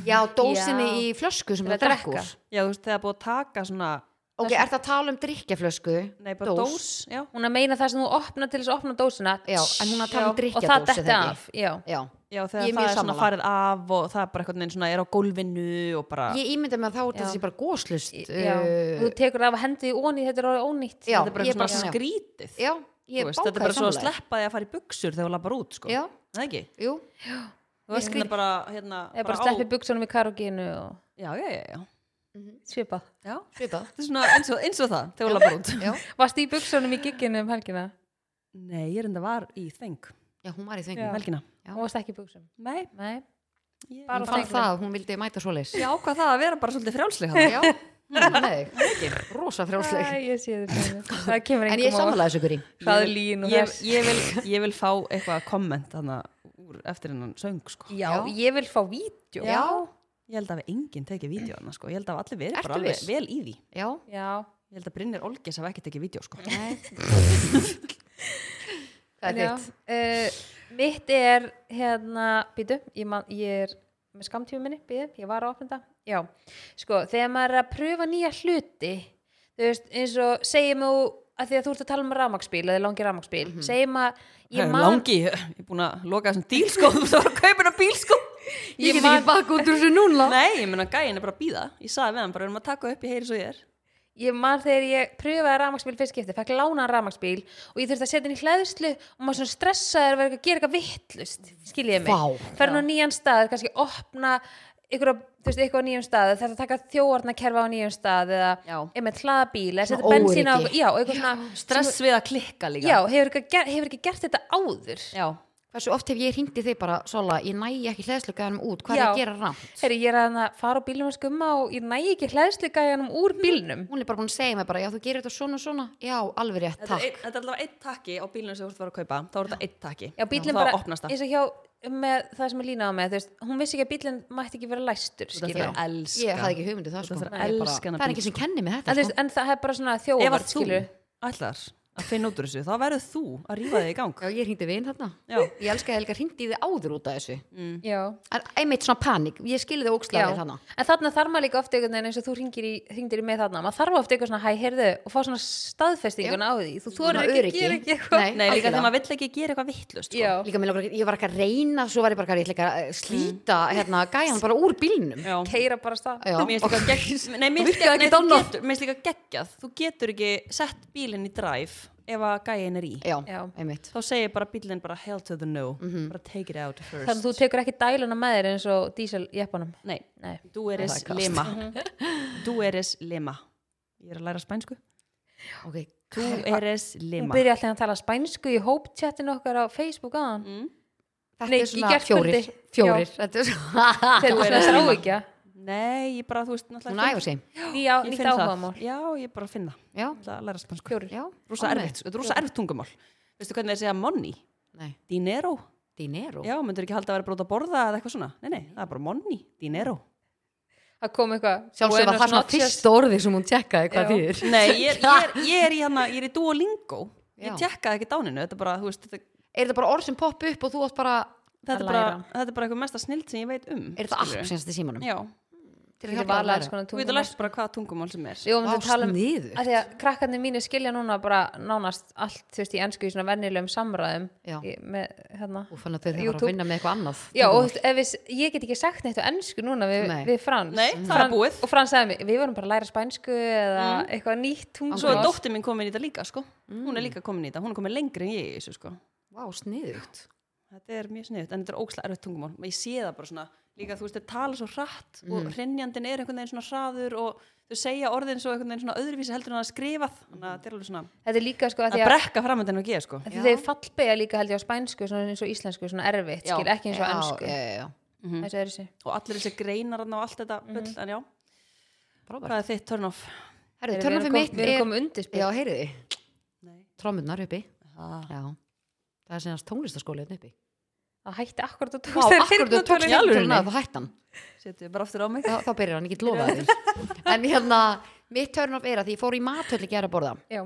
Já, dósinni
Já.
í flösku sem
Til
það
að drekka.
drekkur
Já, þú veist, þegar búið að taka svona,
Ok, er það að tala um drikkjaflösku?
nei, bara dós, já.
Hún að meina það sem þú opna til þess að opna dósina
Já, en hún að tala um
Já,
drykkjadós,
Og það
er það
detti
ekki?
af, já
Já,
Já,
Ég er
þegar
mjög
það er svona
sammála.
farið af og það er bara einhvern veginn svona er á gólfinu og bara...
ég ímynda mig að þá er
Já.
þetta sé bara uh, góslust
Já, og þú tekur það af hendi í óni þetta er orðið ónýtt
Já,
þetta er bara
ég
eitthvað
bara-
svona skrítið.
já
Þú
ég
veist, þetta er
bákaði
bara svo að
samlega
sleppa því að fara í buksur þegar þú lappar út sko.
Já,
það ekki
jú,
þú veist þetta bara hérna
eða bara sleppi buksunum í karoginu og
já, já, já, já.
svipað
já.
svipað
Þetta er svona eins og, eins og það þegar þú lappar út
Já,
Varst í buksunum í gigginu um helgina?
nei, ég er enda var í þeng um
já hún var í
Já.
þengum
helgina
Já.
Hún varst ekki í buksum
nei,
Nei,
ég,
Bara á
Hún fann
þönglum.
það að hún vildi mæta svoleiðis
ég ákvað það að vera bara svolítið frjálsleg þarna.
Já, Mm, hún var með þig Rosa frjálsleg
Æ, ég sé þið fyrir mér. Það kemur
En ég
engum á
samlega þessu guri
hraðlín og
ég,
þess
ég, vil, ég vil fá eitthvað komment þarna úr eftir hennan söng sko.
Já, ég vil fá vídeo
Já,
ég held að við enginn tekið vídeo hana sko. ég held að allir verið
Ertu
bara alveg
viss?
vel í því
já
Já.
ég held að Brynjar Olgis hafa ekki tekið vídeo sko.
Nei. Hvað er
Já.
þitt?
Uh, mitt er hérna, býtu, ég, man, ég er með skamtíma minni, býtu, ég var að opna þetta já, sko, þegar maður er að pröfa nýja hluti, þú veist eins og segjum þú, að því að þú ert að tala um rafmaksbíl, eða langi rafmaksbíl mm -hmm. segjum að, ég man
langi, ég er búin að loka þessum díl sko, þú veist að kaupa hennar bíl sko
Ég get ekki baka út úr þessu núna
Nei, ég meina gæin er bara að býða Ég sagði við hann bara, við erum að taka upp, ég heyri svo ég er
Ég man þegar ég pröfaði rafmaksbíl fyrst skipti, fekk lánaðan rafmaksbíl og ég þurfti að setja inn í hlæðslu og maður svona stressaði að vera eitthvað að gera eitthvað vittlust, skiljiði mig.
Vá.
Fer nú á nýjan stað, kannski opna ykkur, þú veist, eitthvað á nýjum stað eða þarf að taka þjóarnakerfa á nýjum stað eða
Já.
einmitt hlaða bíl eða
Svona
setja bensín á,
óöryggi.
já, og eitthvað svona
Stress við að klikka líka.
já, hefur ekki, ger- hefur ekki gert þetta áður
Já.
Hversu oft hef ég hringt í þig bara, Sola, ég næ ekki hlæðslugæðanum út, hvað er
Já.
ég að gera rangt?
Heri, ég er að þarna fara á bílnum að skumma og ég næ ekki hlæðslu gæjanum úr bílnum
Hún er bara búin að segja mig bara, já, þú gerir þetta svona og svona, já, alveg rétt,
Þetta er,
takk.
ein, þetta er allavega eitt takki á bílunum sem þú ert að fara að kaupa. Þá er þetta eitt takki.
já, bílnum
Þá
bara,
opnast það.
eins og hjá með það sem er lína á með, þú veist, hún vissi ekki að bílinn mætti ekki vera læstur,
Þú
skilur
þarf að
Ég
elska.
hafði ekki hugmyndu það, sko.
þarf að
Nei, ég bara-
elska hana
Það er
bíl,
ekki sem kenni mig
en,
þetta,
þú veist,
sko.
en það er bara svona
Ef að
þjóðvart,
þú
skilur
ætlar að finna út úr þessu, þá verður þú að rífa þig í gang.
Já, ég hringdi vin þarna.
Já.
Ég elska að Helga hringdi í þig áður út af þessu.
Mm.
já,
En Einmitt svona panik, ég skilði þið
Mm. já.
ógslaðið þarna.
en þarna þarf maður líka oft einhvern veginn eins og þú hringir í, hringdir í mig þarna maður þarf oft eitthvað svona, hæ, heyrðu, og fá svona staðfestinguna á því, þú
Svona
þorir ekki að
öryggi.
gera ekki eitthvað
Nei,
Nei,
líka
algjörlega.
þegar maður vill ekki gera eitthvað vittlust. Sko.
já,
Líka, mig langar ekki- ég var ekki að reyna, svo var ég bara eitthvað, ég ætla ekki að eh, slíta
Mm.
hérna, gæjan bara úr bílnum.
Já.
keira bara af stað
Já.
Mér finnst líka gegg- Nei, mér finnst
Virkaði
nei,
ekki
þú
á nótt.
getur- mér finnst líka geggjað þú getur ekki sett bílinn í drive ef að gæin er í
Já,
Já.
einmitt.
þá segir bara bílinn bara hell to the no bara take it out first
þannig að þú tekur ekki dæluna með þér eins og dieseljeppanum
nei,
Nei.
þú
Það
eres
er kast.
lima þú eres lima Mhm. ég er að læra spænsku
Ok,
þú eres
hún
lima
byrja alltaf að tala spænsku í hópchattinu okkar á Facebook aðan mm.
Þetta
Nei,
er
í
svona
gærkvöldi.
fjórir, fjórir. Þetta er svona,
þegar þú
erum
svona sá ekki
nei, ég bara, þú veist náttúrulega
hún æfa sig.
nýja
finn- ég
nýtt
finn það.
áhugamál
já, ég bara finna
Já,
það að læra spænsku
fjórir
já.
rúsa
ánægð.
erfitt, þetta er rúsa erfitt tungumál veistu hvernig þeir segja money,
Nei,
dinero
dinero.
já, myndur ekki halda að vera brót að borða eða eitthvað svona nei, nei, það er bara money, dinero
það kom eitthvað
Sjálfsög var
Buenos
það svona
noches.
fyrst orðið sem hún tjekkaði hvað
Já.
þýðir.
Nei, ég er, ég er, ég er í hana, ég er í Duolingo Ég
Já.
tjekkaði ekki dáninu, þetta er bara, þú veist þetta,
Er þetta bara orð sem popp upp og þú átt bara,
þetta,
Að
er bara,
læra.
þetta er bara eitthvað mesta snild sem ég veit um
er þetta
skilurðu.
app sem þetta í símanum?
Já,
Til
Þetta
hjálpa
var
að læra.
alls konar
þú getur
tungumál.
lært bara hvaða tungumál sem er
Við vorum
Vá,
að tala um
sniðugt.
að því að krakkarnir mínu skilja núna bara nánast allt þú veist í ennsku í svona vennilegum samræðum
Já.
í, með, hérna.
Þú fann að þau þarf
YouTube.
að vinna með eitthvað annað.
Já, og ef við, ég get ekki sagt neitt á ennsku núna við,
Nei. Mm.
við Frans
Nei, það er
Fran-
búið.
Og Frans sagði mig, við vorum bara að læra spænsku eða eitthvað nýtt tungumál
Svo er dóttir mín komin í þetta líka, sko
Mm.
Hún er líka komin í þetta, hún er komin lengri en ég í þessu, sko
Vá, sniðugt.
Þetta er mjög sniðut, en þetta er ókslega erfitt tungumál Ég sé það bara svona, líka, þú veist, þeir tala svo hratt
Mm.
og hrennjandin er einhvern veginn svona hraður og þau segja orðin svo einhvern veginn svona öðruvísi heldur en það er skrifað Þannig að þetta er alveg svona,
Þetta er líka sko að
að
því að
brekka framöndan og geða, sko
Af Því þeir fallbega líka held ég á spænsku svona eins og íslensku, svona erfitt,
Já.
skil ekki eins og ennsku
Já, já, já.
þessi er þessi
Mhm. og allir þessi greinar þarna og allt þetta bull,
Mhm.
en já,
Brábært.
hvað er þitt turn off?
Herru, törnum fyrir um mitt
Við erum
er,
komið undirspil
já, heyriði,
Nei.
trómurnar uppi.
Ah.
Já. Það er senast tónlistaskóliðin uppi.
Það hætti akkurat að
Vá,
tókst þeir
akkur þú tókst
tölunni.
tölun að það hættan.
Setjum við bara aftur á mig.
þá, þá byrjar hann ekki lofa því en hérna, mitt törn of er að því ég fór í matöll í gera að borða
Já,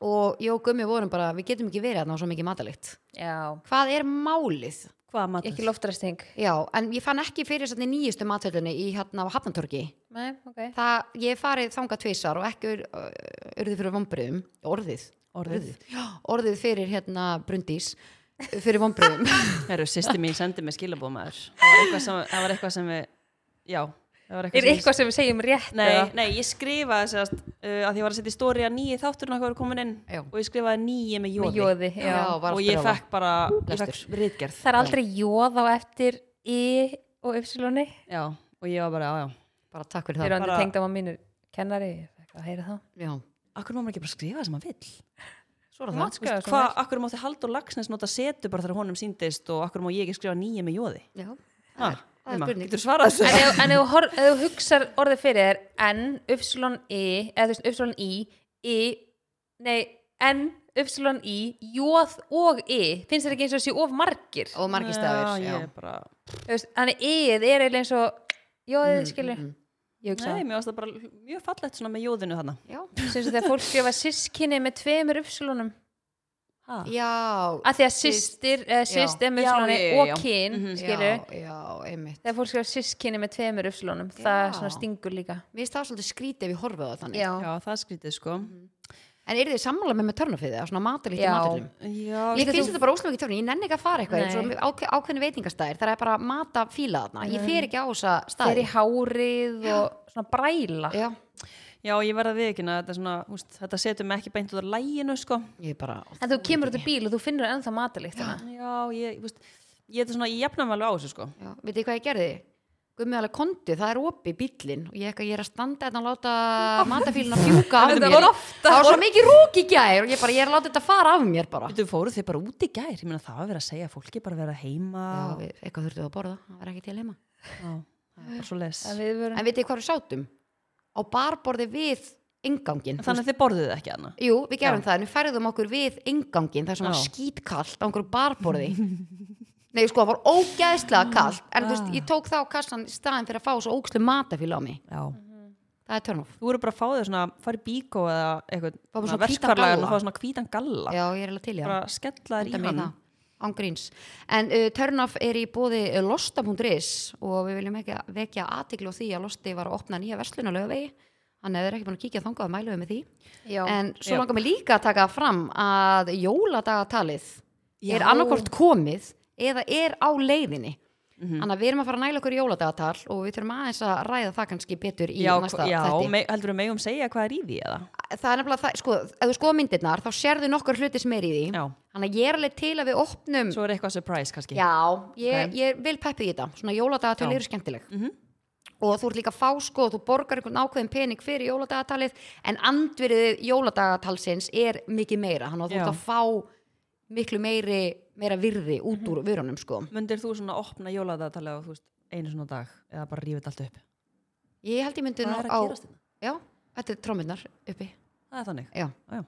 og ég og Gummi vorum bara, við getum ekki verið þarna á svo mikið matalikt
já,
hvað er málið?
Hvað matur?
ekki loftræsting
Já, en ég fann ekki fyrir sannig nýjustu matöllinni í hérna á Hafnantörki
Nei, ok
það, ég hef farið þangað tvisar og ekki ur, uh, urðið fyrir vombriðum orðið,
Orðið.
Já, orðið fyrir hérna brundís fyrir vombriðum
Herru, sýsti mín sendi mig skilabóð maður. Það var eitthvað sem, það var eitthvað sem við, já, það var eitthvað
Er
sem
eitthvað sem við segjum rétt
Nei,
eða?
nei, ég skrifaði sérst, uh, að ég var að setja í stóri að nýji þátturinn okkar var komin inn
Já.
og ég skrifaði nýji með jóði.
Með jóði, já.
var
og
að
ég
spyrja á það.
fekk bara, ég
Flestir.
fekk rítgerð.
Það er aldrei jóð á eftir í og ypsiloni
Já, og ég var bara, já, já.
bara takk fyrir
Þeir eru
það
Bara-
andir tengd á mínir kennari ég fékk að heyra það
Já,
Akkur má maður ekki bara skrifa það sem maður vill.
svo er
Þú
það
mátt skrifa
Hvað,
svona
akkur mátti Haldur Lagsnes nota setu bara þegar honum síndist og akkur má ég ekki skrifa nýji með jóði?
Já,
Ha,
það er
Emma,
spurning.
Getur svarað þessu?
En ef- En ef þú hor- ef þú hugsar orðið fyrir þér N, upsilon i eða þú veist, upsilon i, i nei, N, upsilon i jóð og i finnst þér ekki eins og sé of margir
og
Ah,
margir stafir
Já,
já.
ég bara...
Þú veist, Þannig ið er eiginlega eins og
Mm,
jóðið skilur Ég hugsa
Nei, mér varst það bara mjög fallegt svona með jóðinu þarna.
Já.
sem þess þegar fólk skrifa sískinni með tveimur upsilonum
Ha?
Já,
að því að sýstir, eða sýst er með upsiloni
Já, já, já, já.
og kyn,
Mhm.
skilur
Já, já, einmitt.
þegar fólk skrifa sískinni með tveimur upsilonum það
Já.
svona stingur líka
Mér finnst það svolítið skrítið ef ég horfið á það þannig.
já,
Já, það er skrítið sko.
En eru þið sammála með með törnum fyrir það, svona matalíkt í
Já.
matalum?
Já,
Ég
Líka
finnst
þú-
þetta bara óslúið ekki törnum, ég nenni ekki að fara eitthvað,
Nei.
eins og ák ákveðin veitingastæðir, það er bara mata fíla þarna, ég fer ekki á þessa
þeir
staði.
í hárið og svona bræla
Já,
já ég verða við ekki að þetta, er svona, úst, þetta setur mig ekki beint út af læginu sko.
ég bara,
en þú kemur út í bíl og þú finnur ennþá matalíkt
Já, ég, úst, ég, þetta svona, ég jafna mig alveg á þessu sko.
já, veit þið hvað ég gerði? Gummi alveg kondi, það er opið bíllinn og ég, eitthvað, ég er að standa þetta og láta matafílina fjúka af
Þetta
mér
var
það var svo mikið rók í gær og ég bara, ég er að láta þetta fara af mér bara
Þú fóruð þið bara út í gær, ég meina það að vera að segja að fólki bara að vera heima
Já,
og-
við, eitthvað þurftu að borða, það var ekki til heima
Já, það er bara svo les
En við
en
verum
veitir hvað við sátum? á barborði við ingangin
Þannig að þið borðuðu ekki hana
Jú, við gerum það, en við færðum okkur við ingangin þar sem var
Já.
skítkallt á einhverju barborði Nei, sko, það var ógæðslega kallt en þú veist,
Ah.
ég tók þá kassan í staðin fyrir að fá svo ógæðslega matafíla á mig
Já
Það er törnum
Þú eru bara að fá þau svona, fara í bíkó eða
Fá bara
eitthvað
svona hvítan
verkvarlagan
galla.
og fá svona hvítan galla
Já, ég er alveg til í það
bara skella þær í
Enda
hann
mín það, án gríns. En uh, Turnoff er í bóði losta.is og við viljum ekki vekja aðtiklu á því að Losti var að opna nýja verslun á laugavegi. Þannig að þeir eru ekki búin að kíkja þangað að mælu við með því.
Já,
En svo
Já.
langar mig líka að taka fram að jóladagatalið
Já.
er annarkort komið eða er á leiðinni.
Mhm.
Þannig að við erum að fara að næla okkur í jóladagatal og við þurfum aðeins að ræða það kannski betur í
Já,
næsta
já
þætti.
me, heldur við megum segja hvað er í því eða?
Það er nefnilega það, sko, ef þú skoða myndirnar þá sérðu nokkur hluti sem er í því.
Já,
Þannig að ég er alveg til að við opnum
svo er eitthvað surprise kannski
Já, ég,
Ok.
ég vil peppið í þetta svona jóladagatölu
Já. Mhm.
eru skemmtileg og þú ert líka að fá sko þú borgar einhvern ákveðin pening fyrir jóladagatalið en andverið jóladagatalsins er mikið meira, þannig að þú
Já.
ert að fá miklu meiri, meira virði út
Mhm.
úr vörunum sko.
Mundir þú svona opna jóladagatalið og þú veist einu svona dag eða bara rífið allt upp
Ég held ég myndi
Hvað
nú
er að
á,
gerast hérna? þetta?
já, þetta er trómmunnar uppi,
Það er þannig
já
Já,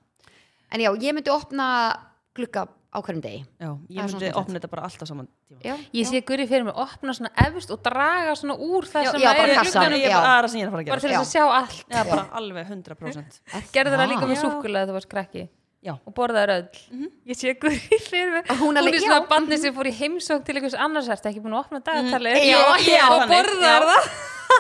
en já, ég myndi opna glugga á hverjum degi
já
Það
ég
er svona
myndi
skemmtilegt.
opna þetta bara alltaf saman tíma
já,
ég sé Guri fyrir mig opna svona efst og draga svona úr það
Já,
sem
já,
er
bara
í
kassan,
glugganum,
Ég
já.
er bara aðra sem ég er að fara að
bara til
gera
Já. Eh.
þess að sjá allt
Já, bara alveg 100%
gerði það líka með
Já.
súkulega þú varst krakki
Já.
og borðaði öll ég sé Guri fyrir mig
Hún alveg-
er svona
já.
barnið sem fór í heimsókn til einhvers annars ertu ekki búin að opna dagatali
Já, já,
og
þannig, já.
borðaði það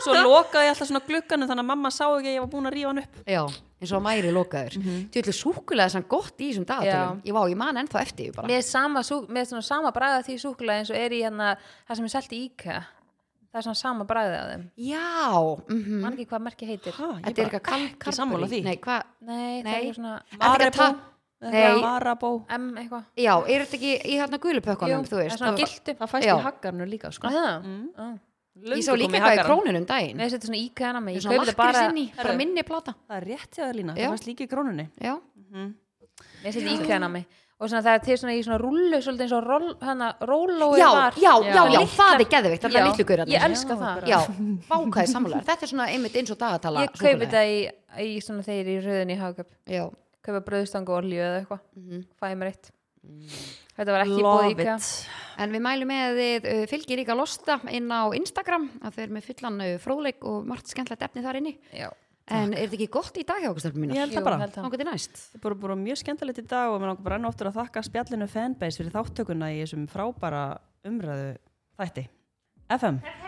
Svo lokaði ég alltaf svona glugganum þannig að mamma sá ekki að ég var búin að rífa hann upp
já eins og að mæri lokaður mm
Mhm.
-hmm. þú ætlu súkulega sann gott í þessum dagatalum ég, vá, ég man ennþá eftir því bara
með sama, sú- með svona sama bræða því súkulega eins og er í hérna það sem er selt í IKEA það er svona sama bræði á þeim
Já, mhm.
man ekki hvað merki heitir
Ha, ég
þetta er
bara
eitthvað kal-
ekki
Cadbury.
sammála því
Nei, hvað,
nei, það er
Nei.
eitthvað svona
Er þetta ekki að
Marabou?
ta-
Nei.
Nei.
Marabó
M eitthvað
já, er þetta ekki í hérna gulupökkunum, þú
það er
veist
svona Ah, giltu
Það fæst
Já.
í haggarnu líka sko.
Á, það?
Mm.
Á.
Ég
Löngu
sá líka
komið
eitthvað í
Haggarn.
krónunum daginn
Nei, þetta er svona íkæða hana með,
Ég
ég
svona
kaupi það
lakkris
bara
inn í, bara
Herru.
minni plata
Það er rétt hjá þér lína,
Já.
það fæst líka í krónunni
Já,
Nei, þetta er íkæða hana með Og svona það er til svona í svona rullu, svolítið eins og roll, hana, rólói
já,
var
já, já, já,
Litla-
það er geðvikt, þetta er
Já,
litlu gaurarnir
Ég elska
Já,
það
Já, vákaði samlega, þetta er svona einmitt eins og dagatala
Ég kaupi það í, í svona þeir í röðin í hagköp
Já,
Kaupi bröðstang og olíu eða eitthvað
mhm. Mm.
Fæði mér eitt Þetta var ekki
Love
búið íkæða
it.
En við mælum með að þið uh, fylgir líka losta inn á Instagram að þau eru með fullan uh, fróðleik og margt skemmtlegt efni þar inni
Já,
En er þetta ekki gott í dag hjá okkur stelpum
Ég
mínar?
held það
Jú,
bara
held það.
Nákvæmlega næst
Þetta er bara, bara mjög skemmtilegt í dag og mér langar bara enn oftur að þakka spjallinu fanbase fyrir þáttökuna í þessum frábæra umræðu þætti FM